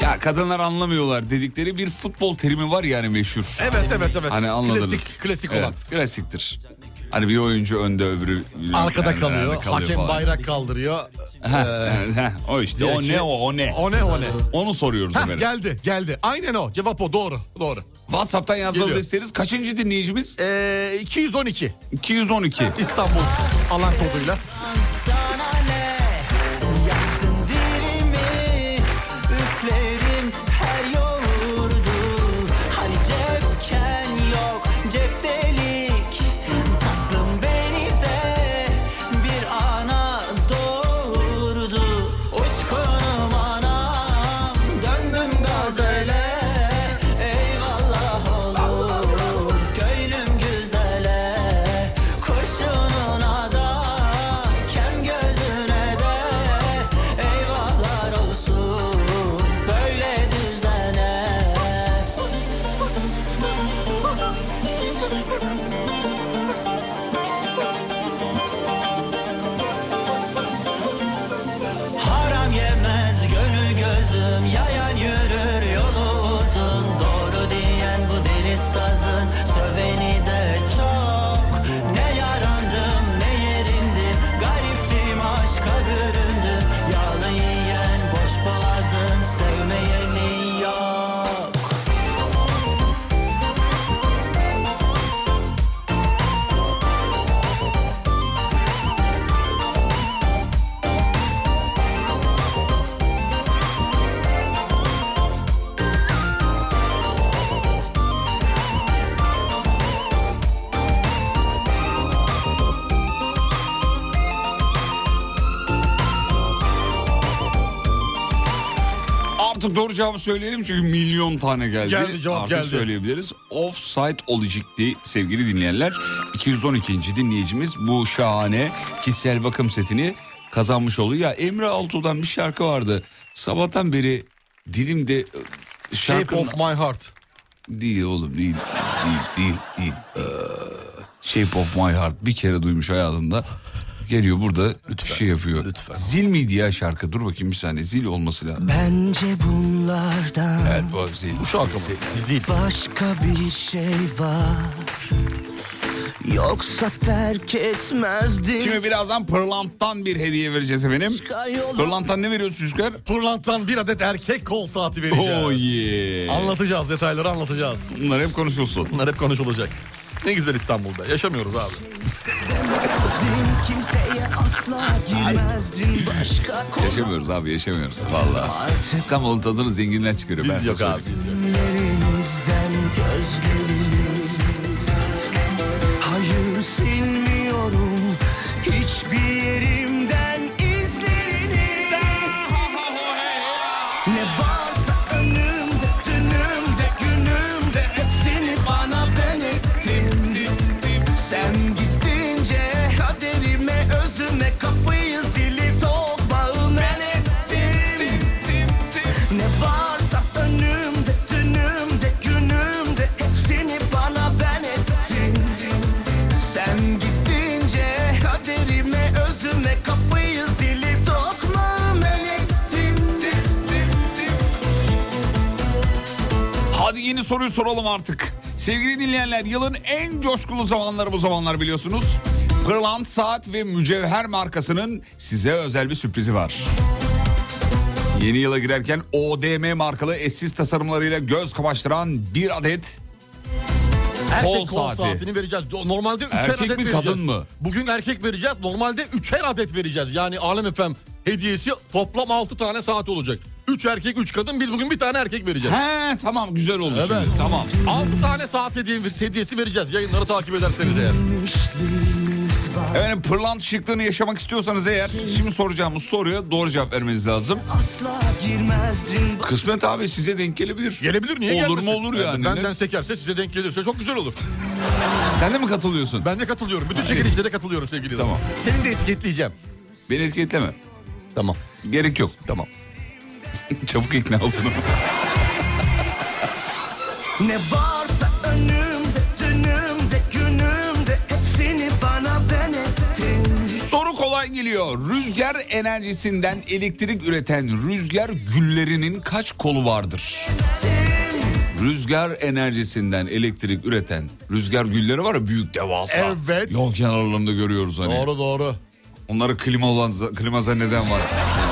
ya kadınlar anlamıyorlar dedikleri bir futbol terimi var yani meşhur.
Evet evet evet.
Hani anladınız.
Klasik, klasik
Evet,
olan.
klasiktir. Hani bir oyuncu önde öbürü
Arkada
yani
kalıyor.
arada kalıyor
hakem
falan.
bayrak kaldırıyor.
Heh,
Ee,
heh, o işte
diyor
o
ki-
ne o o ne.
O ne, o ne?
Onu soruyoruz
Heh,
efendim.
geldi geldi. Aynen o. Cevap o doğru doğru.
WhatsApp'tan yazmanızı
Geliyor.
isteriz. Kaçıncı dinleyicimiz?
Ee, 212
212.
İstanbul alan koduyla.
Sana ne Yaktın dilimi Üflerim her yoğurdu Hani cepken yok Cep delik Tatlım beni de Bir ana doğurdu Uçkunum anam Döndüm gazele Eyvallah olur Köylüm güzele Kurşununa da Kem gözüne de Eyvahlar olsun Böyle düzene Haram yemez gönül gözüm Yayan yürür yolu uzun Doğru diyen bu deli sazın Söveni de
Artık doğru cevabı söyleyelim çünkü milyon tane geldi.
Geldi, cevap
Artık
geldi.
söyleyebiliriz. Offside olacaktı sevgili dinleyenler. 212. dinleyicimiz bu şahane kişisel bakım setini kazanmış oluyor. Ya Emre Altuğ'dan bir şarkı vardı. Sabahtan beri
Şey,
dilimde e, şarkının...
Shape of my heart.
Değil oğlum değil. Değil değil değil. Ee, Shape of my heart bir kere duymuş hayatında. Geliyor burada şey yapıyor. Zil miydi ya şarkı? Dur bakayım bir saniye. Zil olması lazım.
Bence bunlardan
Evet bu zil. Bu şarkı zil, zil.
başka bir şey var. Yoksa terk etmezdim.
Şimdi birazdan Pırlant'tan bir hediye vereceğiz efendim. Pırlant'tan ne veriyoruz çocuklar?
Pırlant'tan bir adet erkek kol saati vereceğiz.
Oh yeah.
Anlatacağız detayları anlatacağız.
Bunlar hep konuşulsun.
Bunlar hep konuşulacak. Ne güzel İstanbul'da yaşamıyoruz abi.
Kimseye asla girmezdim başka
Yaşamıyoruz abi yaşamıyoruz. Valla. İstanbul'un tadını zenginler çıkarıyor. ben size
yok abi,
söyleyeyim.
kollarımızdan gözlerini. Hayır silmiyorum hiçbir yerimden izlerini.
Ne varsa önümde, dünümde, günümde Hepsini bana ben ettin Sen gidince kaderime, özüme Kapıyı zili tokmağım ben ettim Ne varsa önümde, dünümde, günümde Hepsini bana ben ettin Sen gidince kaderime, özüme Kapıyı zili tokmağım ben ettim
Hadi yeni soruyu soralım artık. Sevgili dinleyenler yılın en coşkulu zamanları bu zamanlar biliyorsunuz. Pırlant Saat ve Mücevher markasının size özel bir sürprizi var. Yeni yıla girerken ODM markalı eşsiz tasarımlarıyla göz kamaştıran bir adet
Erkek
kol
kol,
saati.
saatini vereceğiz. Do- Normalde üçer
Erkek
adet
mi,
vereceğiz.
kadın mı?
Bugün erkek vereceğiz. Normalde üçer adet vereceğiz. Yani Alem efem hediyesi toplam altı tane saat olacak. Üç erkek üç kadın biz bugün bir tane erkek vereceğiz.
He tamam güzel oldu
Evet.
şimdi tamam.
Altı tane saat hediyesi, hediyesi vereceğiz. Yayınları takip ederseniz eğer.
Efendim pırlant şıklığını yaşamak istiyorsanız eğer şimdi soracağımız soruya doğru cevap vermeniz lazım.
Asla girmezdim
Kısmet abi size denk gelebilir.
Gelebilir niye
Olur
gelmesin?
mu olur yani.
Benden sekerse size denk gelirse çok güzel olur.
Sen de mi katılıyorsun?
Ben de katılıyorum. Bütün çekilişlere katılıyorum sevgili Tamam. Seni de etiketleyeceğim.
Beni etiketleme.
Tamam.
Gerek yok.
Tamam.
Çabuk ikna oldum.
Ne varsa önümde, dünümde, günümde Hepsini bana ben ettin
Soru kolay geliyor. Rüzgar enerjisinden elektrik üreten rüzgar güllerinin kaç kolu vardır? Rüzgar enerjisinden elektrik üreten rüzgar gülleri var ya büyük devasa.
Evet.
Yol kenarlarında görüyoruz hani.
Doğru doğru.
Onları klima olan klima zanneden var.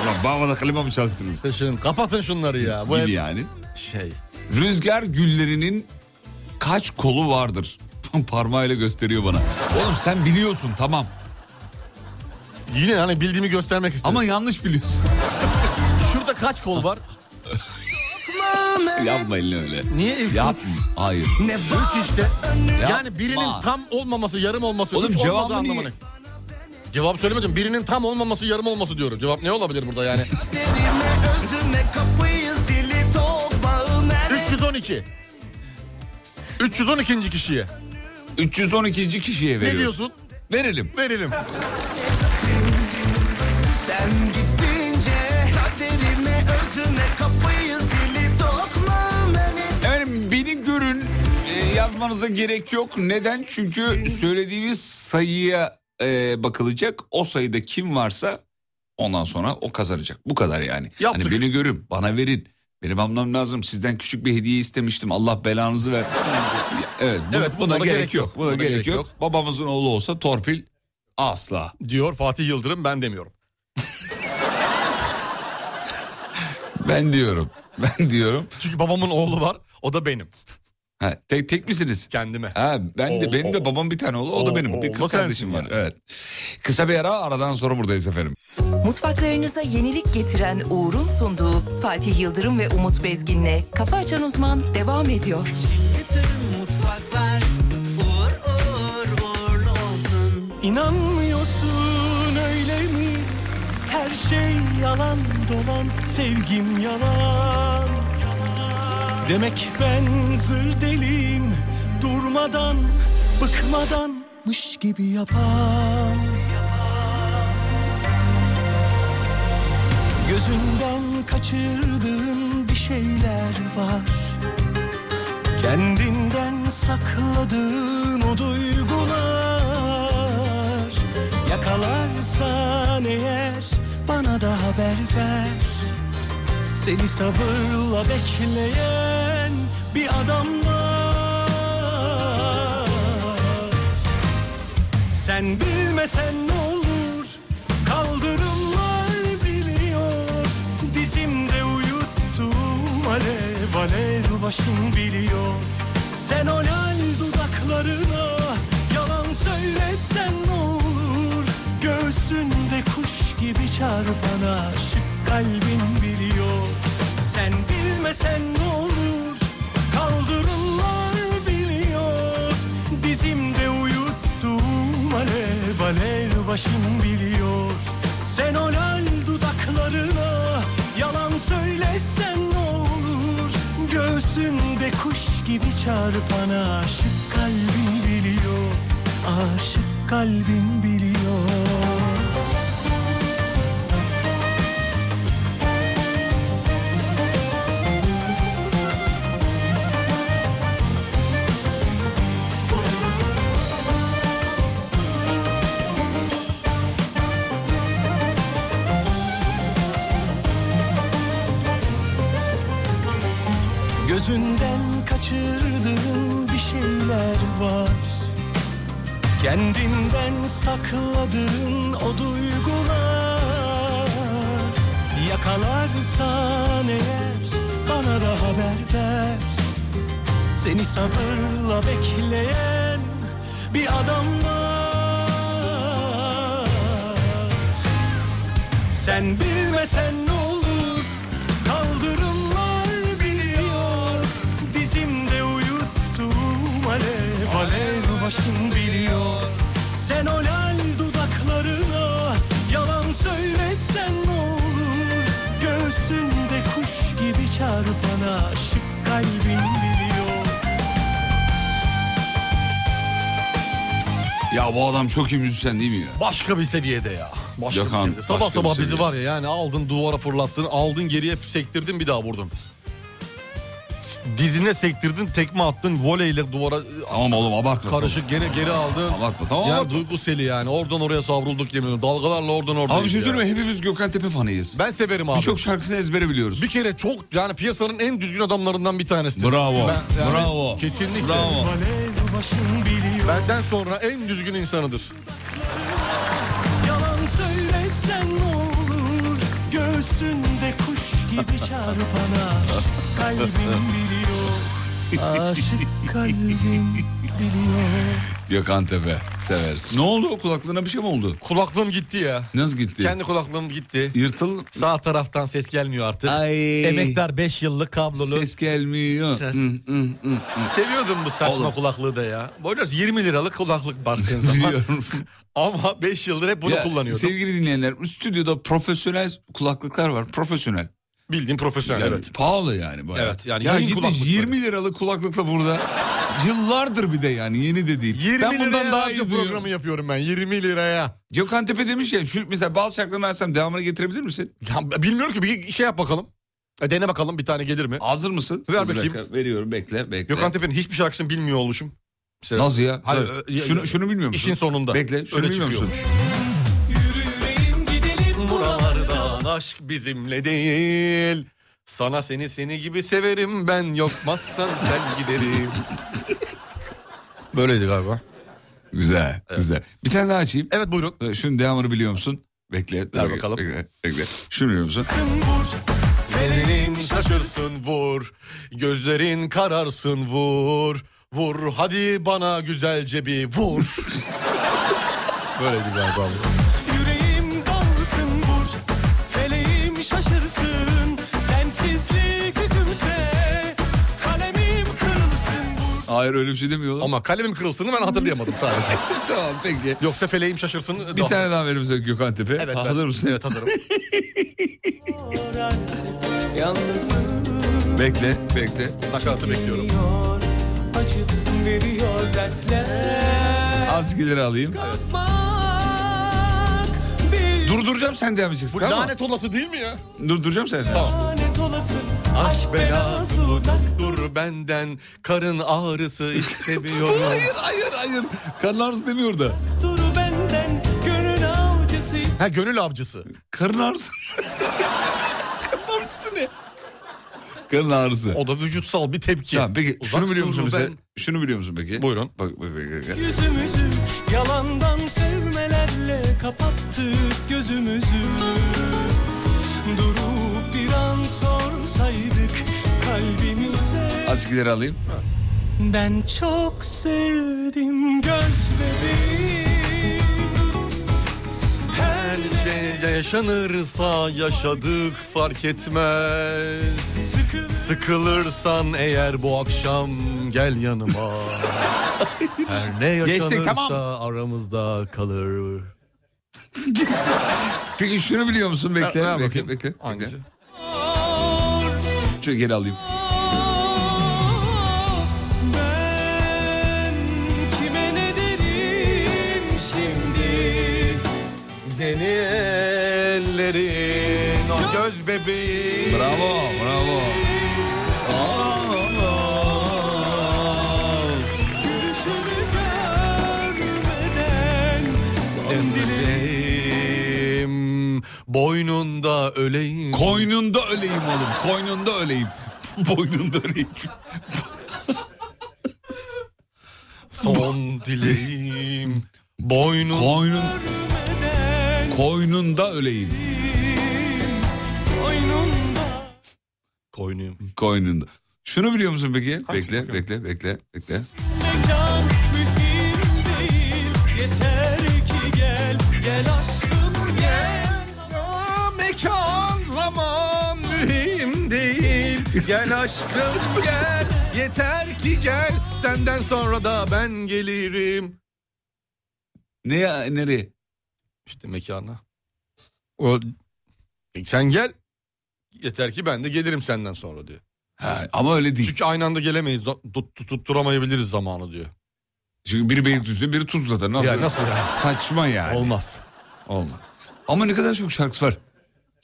Ulan Bağmada klima mı çalıştınız?
Taşın, kapatın şunları ya. Bu
Gibi
hep
yani.
Şey.
Rüzgar güllerinin kaç kolu vardır? Parmağıyla gösteriyor bana. Oğlum sen biliyorsun tamam.
Yine hani bildiğimi göstermek istedim.
Ama yanlış biliyorsun.
Şurada kaç kol var?
Yapmayın öyle.
Niye? Üç,
Yap.
üç.
Hayır.
Ne üç işte.
Yapma.
Yani birinin tam olmaması, yarım olması,
Oğlum
üç olmadığı
cevabı niye-
anlamına. Cevap söylemedim. Birinin tam olmaması, yarım olması diyorum. Cevap ne olabilir burada yani?
Derime, özüme, kapıyı zili tokmağım ben
312. 312. kişiye.
312. kişiye veriyoruz.
Ne diyorsun?
Verelim.
Verelim.
Sen gidince kaderime, özüme, kapıyı zili tokmağım ben ettin
Efendim beni görün e, yazmanıza gerek yok. Neden? Çünkü söylediğimiz sayıya e, bakılacak. O sayıda kim varsa ondan sonra o kazanacak. Bu kadar yani.
Yaptık.
Hani beni görün, bana verin. Benim almam lazım. Sizden küçük bir hediye istemiştim. Allah belanızı ver. evet, bu,
Evet,
buna, gerek, yok. Buna, gerek, yok. Babamızın oğlu olsa torpil asla.
Diyor Fatih Yıldırım ben demiyorum.
Ben diyorum. Ben diyorum.
Çünkü babamın oğlu var. O da benim.
Ha, tek tek misiniz?
Kendime.
Ha, ben de
Oğlu,
benim de
oğlu.
babam bir tane oğlu, o da
Oğlu,
benim. Bir
oğlu
kız
sensin
kardeşim var. Evet. Kısa bir ara aradan sonra buradayız efendim.
Mutfaklarınıza yenilik getiren Uğur'un sunduğu Fatih Yıldırım ve Umut Bezgin'le Kafa Açan Uzman devam ediyor.
mutfaklar uğur uğur uğurlu olsun. İnanmıyorsun öyle mi? Her şey yalan.
Yalan dolan sevgim yalan Demek ben zır deliyim Durmadan bıkmadanmış gibi yapan Gözünden kaçırdığın bir şeyler var Kendinden sakladığın o duygular Yakalarsan eğer bana da haber ver Seni sabırla bekleyen bir adam var Sen bilmesen ne olur Kaldırımlar biliyor Dizimde uyuttum Alev alev başım biliyor Sen o lal dudaklarına Yalan söyletsen ne olur Göğsünde kuş gibi çarpana Aşık kalbin biliyor Sen bilmesen ne olur Kaldırımlar biliyor Dizimde uyuttum alev alev başım biliyor Sen o lal dudaklarına yalan söyletsen ne olur Göğsümde kuş gibi çarpana aşık kalbin biliyor Aşık kalbin biliyor Gözünden kaçırdığın bir şeyler var Kendinden sakladığın o duygular Yakalarsan eğer bana da haber ver Seni sabırla bekleyen bir adam var Sen bilmesen ne olur Kaldırımlar biliyor Dizimde uyuttum alev alev başım biliyor Sen o lal dudaklarına Yalan söyletsen ne olur Göğsünde kuş gibi çarpana Aşık kalbin biliyor
Ya bu adam çok iyi müzisyen değil mi ya?
Başka bir seviyede ya. Başka
Yakan,
bir seviyede. Sabah
başka bir
sabah bizi
seviye.
var ya yani aldın duvara fırlattın, aldın geriye sektirdin bir daha vurdun. Dizine sektirdin, tekme attın, voleyle duvara...
Tamam oğlum abartma.
Karışık gene geri aldın.
Abartma tamam
yani
abartma.
duyguseli yani oradan oraya savrulduk yemin ediyorum. Dalgalarla oradan oradan.
Abi şey- bir şey
gidiyor.
söyleyeyim mi? hepimiz Gökhan Tepe fanıyız.
Ben severim abi.
Birçok şarkısını ezbere biliyoruz.
Bir kere çok yani piyasanın en düzgün adamlarından bir tanesi.
Bravo,
Ben- yani
bravo,
Kesinlikle.
bravo.
Alev başım biliyor
Benden sonra en düzgün insanıdır.
Yalan söyletsen ne olur Göğsünde kuş gibi çarpana Aşık kalbin biliyor Aşık kalbin biliyor
Gökhan Tepe severiz. Ne oldu o kulaklığına bir şey mi oldu?
Kulaklığım gitti ya.
Nasıl gitti?
Kendi kulaklığım gitti.
Yırtıl.
Sağ taraftan ses gelmiyor artık.
Ay.
Emektar 5 yıllık kablolu.
Ses gelmiyor. Hı, hı, hı, hı.
Seviyordum bu saçma
Oğlum.
kulaklığı da ya. Boylar 20 liralık kulaklık baktığın zaman.
Biliyorum.
Ama 5 yıldır hep bunu
Ya,
kullanıyordum.
Sevgili dinleyenler stüdyoda profesyonel kulaklıklar var. Profesyonel.
Bildiğin profesyonel
Yani
evet.
Pahalı yani bayağı.
Evet, yani
ya
yeni
gitti
kulaklıklar.
20 liralık kulaklıkla burada. Yıllardır bir de yani yeni de değil.
20
ben
liraya
bundan daha iyi
radyo
duyuyorum.
programı yapıyorum ben 20 liraya.
Gökhan Tepe demiş ya şu mesela bazı şarkılarını versem devamını getirebilir misin?
Ya b- bilmiyorum ki bir şey yap bakalım. E, dene bakalım bir tane gelir mi?
Hazır mısın?
Ver
Dur bir
bakayım.
dakika, veriyorum bekle bekle.
Gökhan Tepe'nin hiçbir şarkısını bilmiyor olmuşum. Mesela-
Nasıl e- ya?
Hayır,
Tabii.
e, ya-
şunu, şunu bilmiyor musun?
İşin sonunda.
Bekle şunu
Öyle
bilmiyor musun?
çıkıyormuş. Buralardan aşk bizimle değil. Sana seni seni gibi severim ben yokmazsan sen giderim. Böyleydi galiba.
Güzel güzel. Bir tane daha açayım. E,
Evet buyurun.
Şunun devamını biliyor musun? Bekle. dur
Ver
bekle,
bakalım.
Bekle, bekle. Şunu biliyor musun?
Ellerin şaşırsın vur, gözlerin kararsın vur. Vur hadi bana güzelce bir vur. Böyleydi galiba. bu.
Yüreğim dalsın vur Feleğim şaşırsın Sensizlik hükümse Kalemim kırılsın vur
Hayır öyle bir şey demiyorlar.
Ama kalemin kırılsını ben hatırlayamadım sadece.
tamam peki.
Yoksa feleğim şaşırsın.
Bir tane daha verir misin Gökhan Tepe?
Evet,
Hazır
ben-
mısın?
Evet hazırım.
Bekle, bekle.
Nakaratı bekliyorum.
Acı veriyor dertler
Az gider alayım. Durduracağım sen devam edeceksin
Bu
tamam mı?
lanet olası değil mi ya?
Durduracağım sen.
Lanet olası
Aşk belası uzak dur benden karın ağrısı istemiyorum.
hayır hayır hayır. Karın ağrısı demiyor da.
dur benden Gönül avcısı
Ha gönül avcısı.
Karın ağrısı. karın avcısı ne? Karın ağrısı.
O da vücutsal bir tepki.
Tamam peki
Uzak
şunu biliyor
dur
musun mesela?
ben-
Şunu biliyor musun peki?
Buyurun.
Bak bak bak. bak.
Yüzümüzü yalandan sevmelerle kapattık gözümüzü Durup bir an sorsaydık kalbimize
Az gider alayım.
Ben çok sevdim göz bebeğim
Her şey yaşanırsa yaşadık fark etmez. Sıkılırsan eğer bu akşam gel yanıma. Her ne
Geçtik,
yaşanırsa
tamam.
aramızda kalır.
Peki şunu biliyor musun? Bekle.
Ver- ver
bekle,
bakayım.
bekle,
Hangisi?
bekle. Şunu geri alayım.
Kime ne derim şimdi
Seni ellerin o göz bebeği.
Bravo, bravo.
Gülüşünü görmeden Son
Dileğim, boynunda öleyim.
Koynunda öleyim oğlum. Koynunda öleyim. Boynunda öleyim.
Son dileğim. Boynun.
Koynun, koynunda öleyim.
Koynuyum.
Koynunda. Şunu biliyor musun peki? bekle, bekle, bekle, bekle.
Mekan mühim değil Yeter ki gel Gel aşkım gel
Ya mekan zaman mühim değil. Gel aşkım gel. Yeter ki gel. Senden sonra da ben gelirim.
Ne ya, nereye?
İşte mekana. O "E, sen gel. Yeter ki ben de gelirim senden sonra diyor.
Ha, ama öyle değil. Çünkü,
Çünkü aynı anda gelemeyiz. tut- tut- Tutturamayabiliriz zamanı diyor.
biri Beylikdüzü'nde, biri Tuzla'da. Nasıl?
Ya nasıl yani?
Saçma yani.
Olmaz.
Olmaz. Ama ne kadar çok şarkısı var.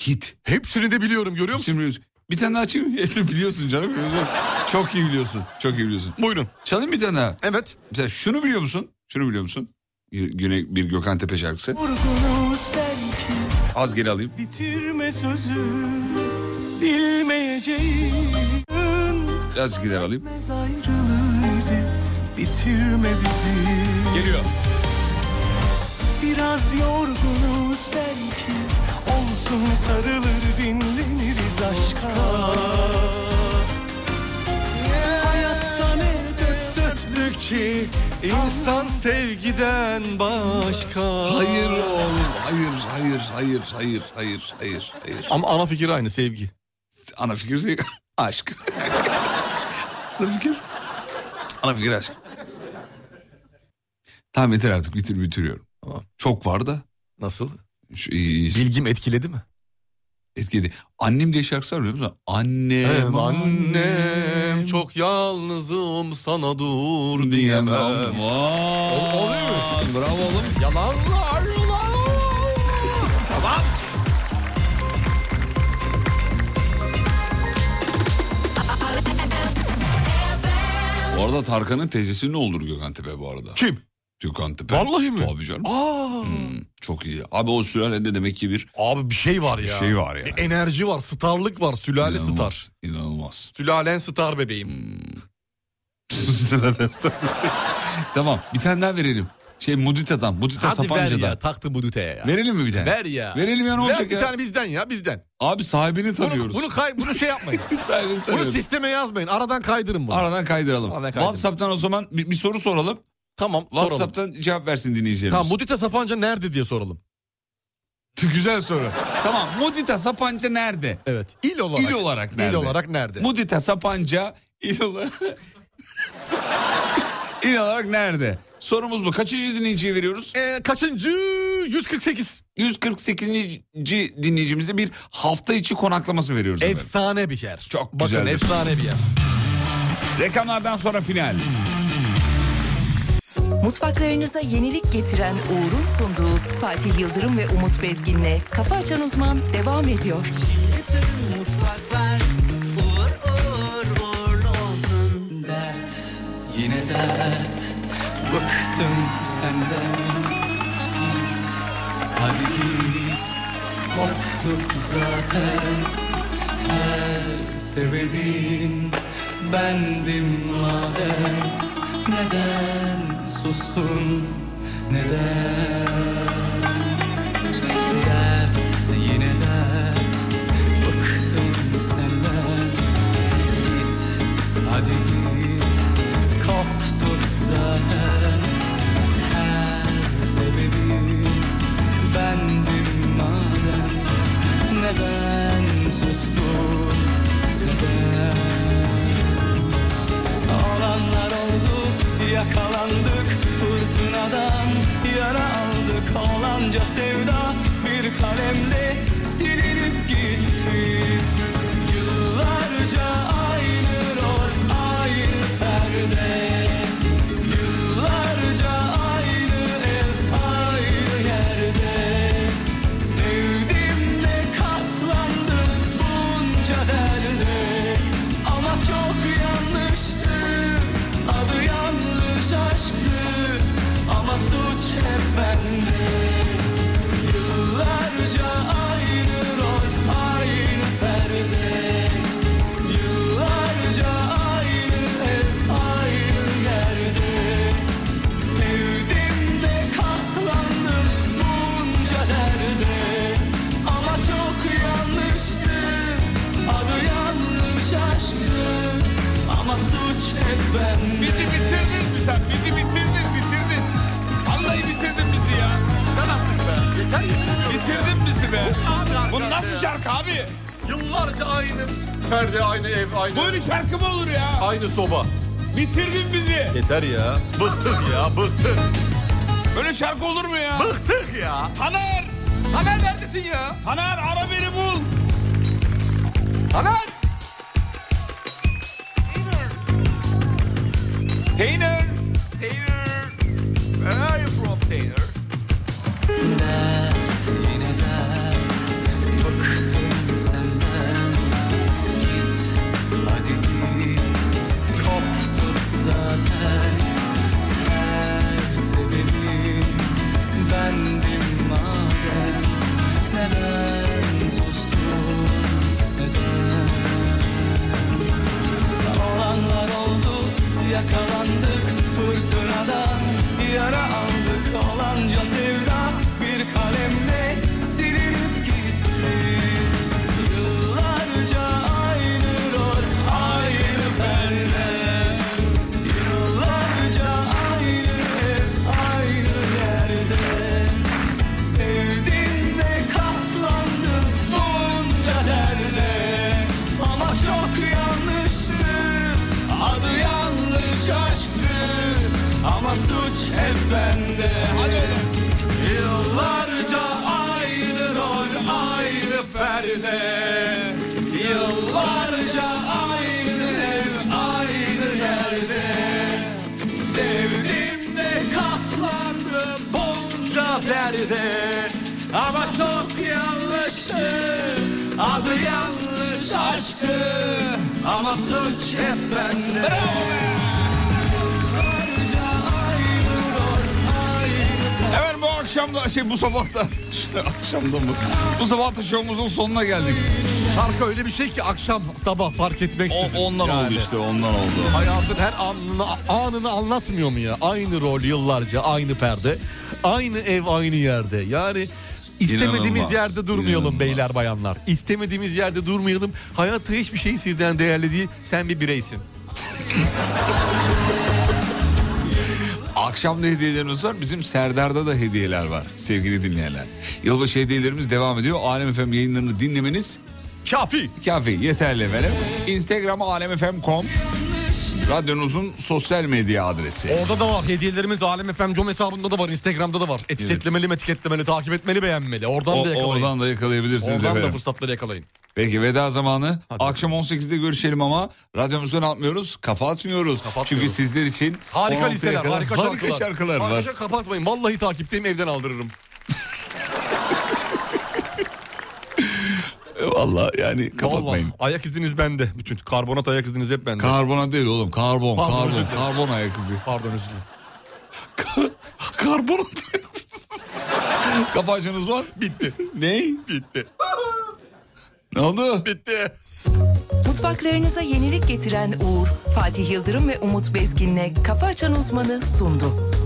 Hit.
Hepsini de biliyorum görüyor musun?
Şimdi biliyorsun. bir tane daha açayım. mı? biliyorsun canım. biliyorsun. Çok iyi biliyorsun. Çok iyi biliyorsun.
Buyurun.
Çalayım bir tane daha.
Evet.
Mesela şunu biliyor musun? Şunu biliyor musun? Bir- Güne bir Gökhan Tepe şarkısı.
Vurgunuz belki
Az geri alayım.
Bitirme sözü Bilmeyeceğim
Az geri alayım.
Bitmez ayrılığı izi Bitirme bizi
Geliyor.
Biraz yorgunuz belki Olsun sarılır dinleniriz aşka Hayatta ne dört dörtlük
Ki insan sevgiden başka.
Hayır oğlum. Hayır, hayır, hayır, hayır, hayır, hayır, hayır.
Ama ana fikir aynı sevgi.
Ana fikir şey- aşk. Ana fikir. Ana fikir aşk. Tamam yeter artık bitir bitiriyorum.
Tamam.
Çok var da
Nasıl?
şu, iyi, iyi,
Bilgim etkiledi mi?
etkiledi. Annem diye şarkısı var biliyor musun? Annem,
Hem annem çok yalnızım sana dur diyemem.
diyemem. Aa,
Oluyor mu?
Bravo oğlum.
Yalanlar
Tamam. Bu arada Tarkan'ın teyzesi ne olur Gökhan Tepe bu arada?
Kim?
Gökhan Tepe.
Vallahi mi?
Tabii canım.
Aa,
Hmm, çok iyi. Abi o sülalede demek ki bir
Abi bir şey var ya.
Bir şey var yani.
Bir enerji var, starlık var, sülale star.
inanılmaz. İnanılmaz.
Sülalen star bebeğim.
Hmm. tamam bir tane daha verelim. Şey Mudita'dan, Mudita
Hadi ver
Sapanca'dan.
ya taktı bu düteye ya.
Verelim mi bir tane?
Ver ya.
Verelim ya ne
Ver
olacak
bir
ya?
tane bizden ya bizden.
Abi sahibini
Bunu,
tanıyoruz.
bunu, kay, bunu şey yapmayın.
sahibini
bunu
tanıyoruz.
sisteme yazmayın. Aradan kaydırın bunu.
Aradan kaydıralım.
Aradan kaydırın.
WhatsApp'tan o zaman bir, bir soru soralım.
Tamam soralım.
WhatsApp'tan cevap versin dinleyicilerimiz.
Tamam Mudita Sapanca nerede diye soralım.
Güzel soru. tamam Mudita Sapanca nerede?
Evet. İl olarak.
İl olarak nerede?
İl olarak nerede?
Mudita Sapanca il olarak... İnanarak nerede? Sorumuz bu. Kaçıncı dinleyiciye veriyoruz?
Ee, kaçıncı? 148.
148. dinleyicimize bir hafta içi konaklaması veriyoruz. efendim.
Efsane bir yer.
Çok
Bakın
güzeldir.
efsane bir yer.
Reklamlardan sonra final.
Mutfaklarınıza yenilik getiren Uğur'un sunduğu Fatih Yıldırım ve Umut Bezgin'le Kafa Açan Uzman devam ediyor.
Bütün mutfaklar uğur uğur uğurlu olsun Dert yine dert Bıktım senden Git hadi git Korktuk zaten Her sebebin bendim madem Neden sustun neden Dert yine dert Bıktım senden Git hadi git Koptuk zaten Her sebebim Bendim madem Neden sustum Neden Olanlar oldu Yakalandık fırtınadan Yara aldık olanca sevda Bir kalemle silinip gitti Yıllarca aynı rol, aynı perde Yıllarca aynı ev, aynı yerde Sevdimle katlandım bunca derde Ama çok yanlıştı, adı yanlış aşktı Ama suç hep bende Yıllarca aynı rol, aynı perde Yıllarca aynı ev, aynı yerde Sevdim de katlandım bunca derde Ama çok yanlıştı, adı yanlış aşktı Ama suç hep bende Bizi bitirdin mi sen, bizi bitirdin, bitirdin Vallahi bitirdin bizi ya
Bitirdin bizi be. Bu nasıl şarkı
abi? Ee, Yıllarca aynı perde, aynı ev, aynı... Böyle şarkı mı olur ya? Aynı soba. Bitirdin bizi. Yeter ya. Bıktık ya, bıktık.
Böyle şarkı olur mu ya?
Bıktık ya.
Taner!
Taner neredesin ya?
Taner ara beni bul.
Taner!
Taner!
Taylor. Where are you from Taylor?
Dert yine dert Bıktım senden Git hadi git Koptuk zaten Her sebebim Bendim madem Neden sustun Neden Olanlar oldu Yakalandık fırtınadan Yara aldık olanca sevda Bir kalemle silinip gitti Yıllarca aynı rol Aynı perde Yıllarca aynı ev Aynı yerde Sevdim de katlandım bunca derde Ama çok yanlıştı Adı yanlış aşktı Ama suç hep bende Hadi Yıllarca aynı rol aynı perde Yıllarca aynı ev aynı yerde Sevdim de katlandım bunca derde Ama çok yanlıştı Adı yanlış aşktı Ama suç hep bende
Efendim bu akşam da şey bu sabah da akşam da mı? Bu sabah da şovumuzun sonuna geldik.
Şarkı öyle bir şey ki akşam sabah fark etmeksizin.
O- ondan oldu işte, ondan oldu.
Hayatın her anını, anını anlatmıyor mu ya? Aynı rol yıllarca aynı perde. Aynı ev aynı yerde. Yani istemediğimiz
İnanılmaz,
yerde durmayalım beyler bayanlar. İstemediğimiz yerde durmayalım. Hayatta hiçbir şey sizden değerli değil. Sen bir bireysin.
Akşam da hediyelerimiz var. Bizim Serdar'da da hediyeler var sevgili dinleyenler. Yılbaşı hediyelerimiz devam ediyor. Alem FM yayınlarını dinlemeniz
kafi.
Kafi yeterli efendim. Instagram'a alemfm.com Radyonuzun sosyal medya adresi.
Orada da var hediyelerimiz Alem FM com hesabında da var Instagram'da da var. Etiketlemeli etiketlemeli takip etmeli beğenmeli. Oradan
O-
da yakalayın.
oradan da yakalayabilirsiniz
Oradan da
efendim.
fırsatları yakalayın.
Peki veda zamanı. Akşam 18'de görüşelim ama radyomuzu ne yapmıyoruz? Kafa atmıyoruz. Çünkü sizler için
Harika
16'ya
listeler,
kadar
harika,
harika şarkılar var.
Arkadaşlar kapatmayın. Vallahi takipteyim evden aldırırım.
E, Vallahi yani kapatmayın.
Vallahi ayak iziniz bende. Bütün karbonat ayak iziniz hep bende.
Karbona değil oğlum karbon
Pardon, özür
karbon
dilerim.
karbon ayak izi.
Pardon özür dilerim.
karbon Kafa açınız var.
Bitti.
ne?
Bitti.
Ne oldu?
Bitti.
Mutfaklarınıza yenilik getiren Uğur, Fatih Yıldırım ve Umut Bezgin'le Kafa Açan Uzman'ı sundu.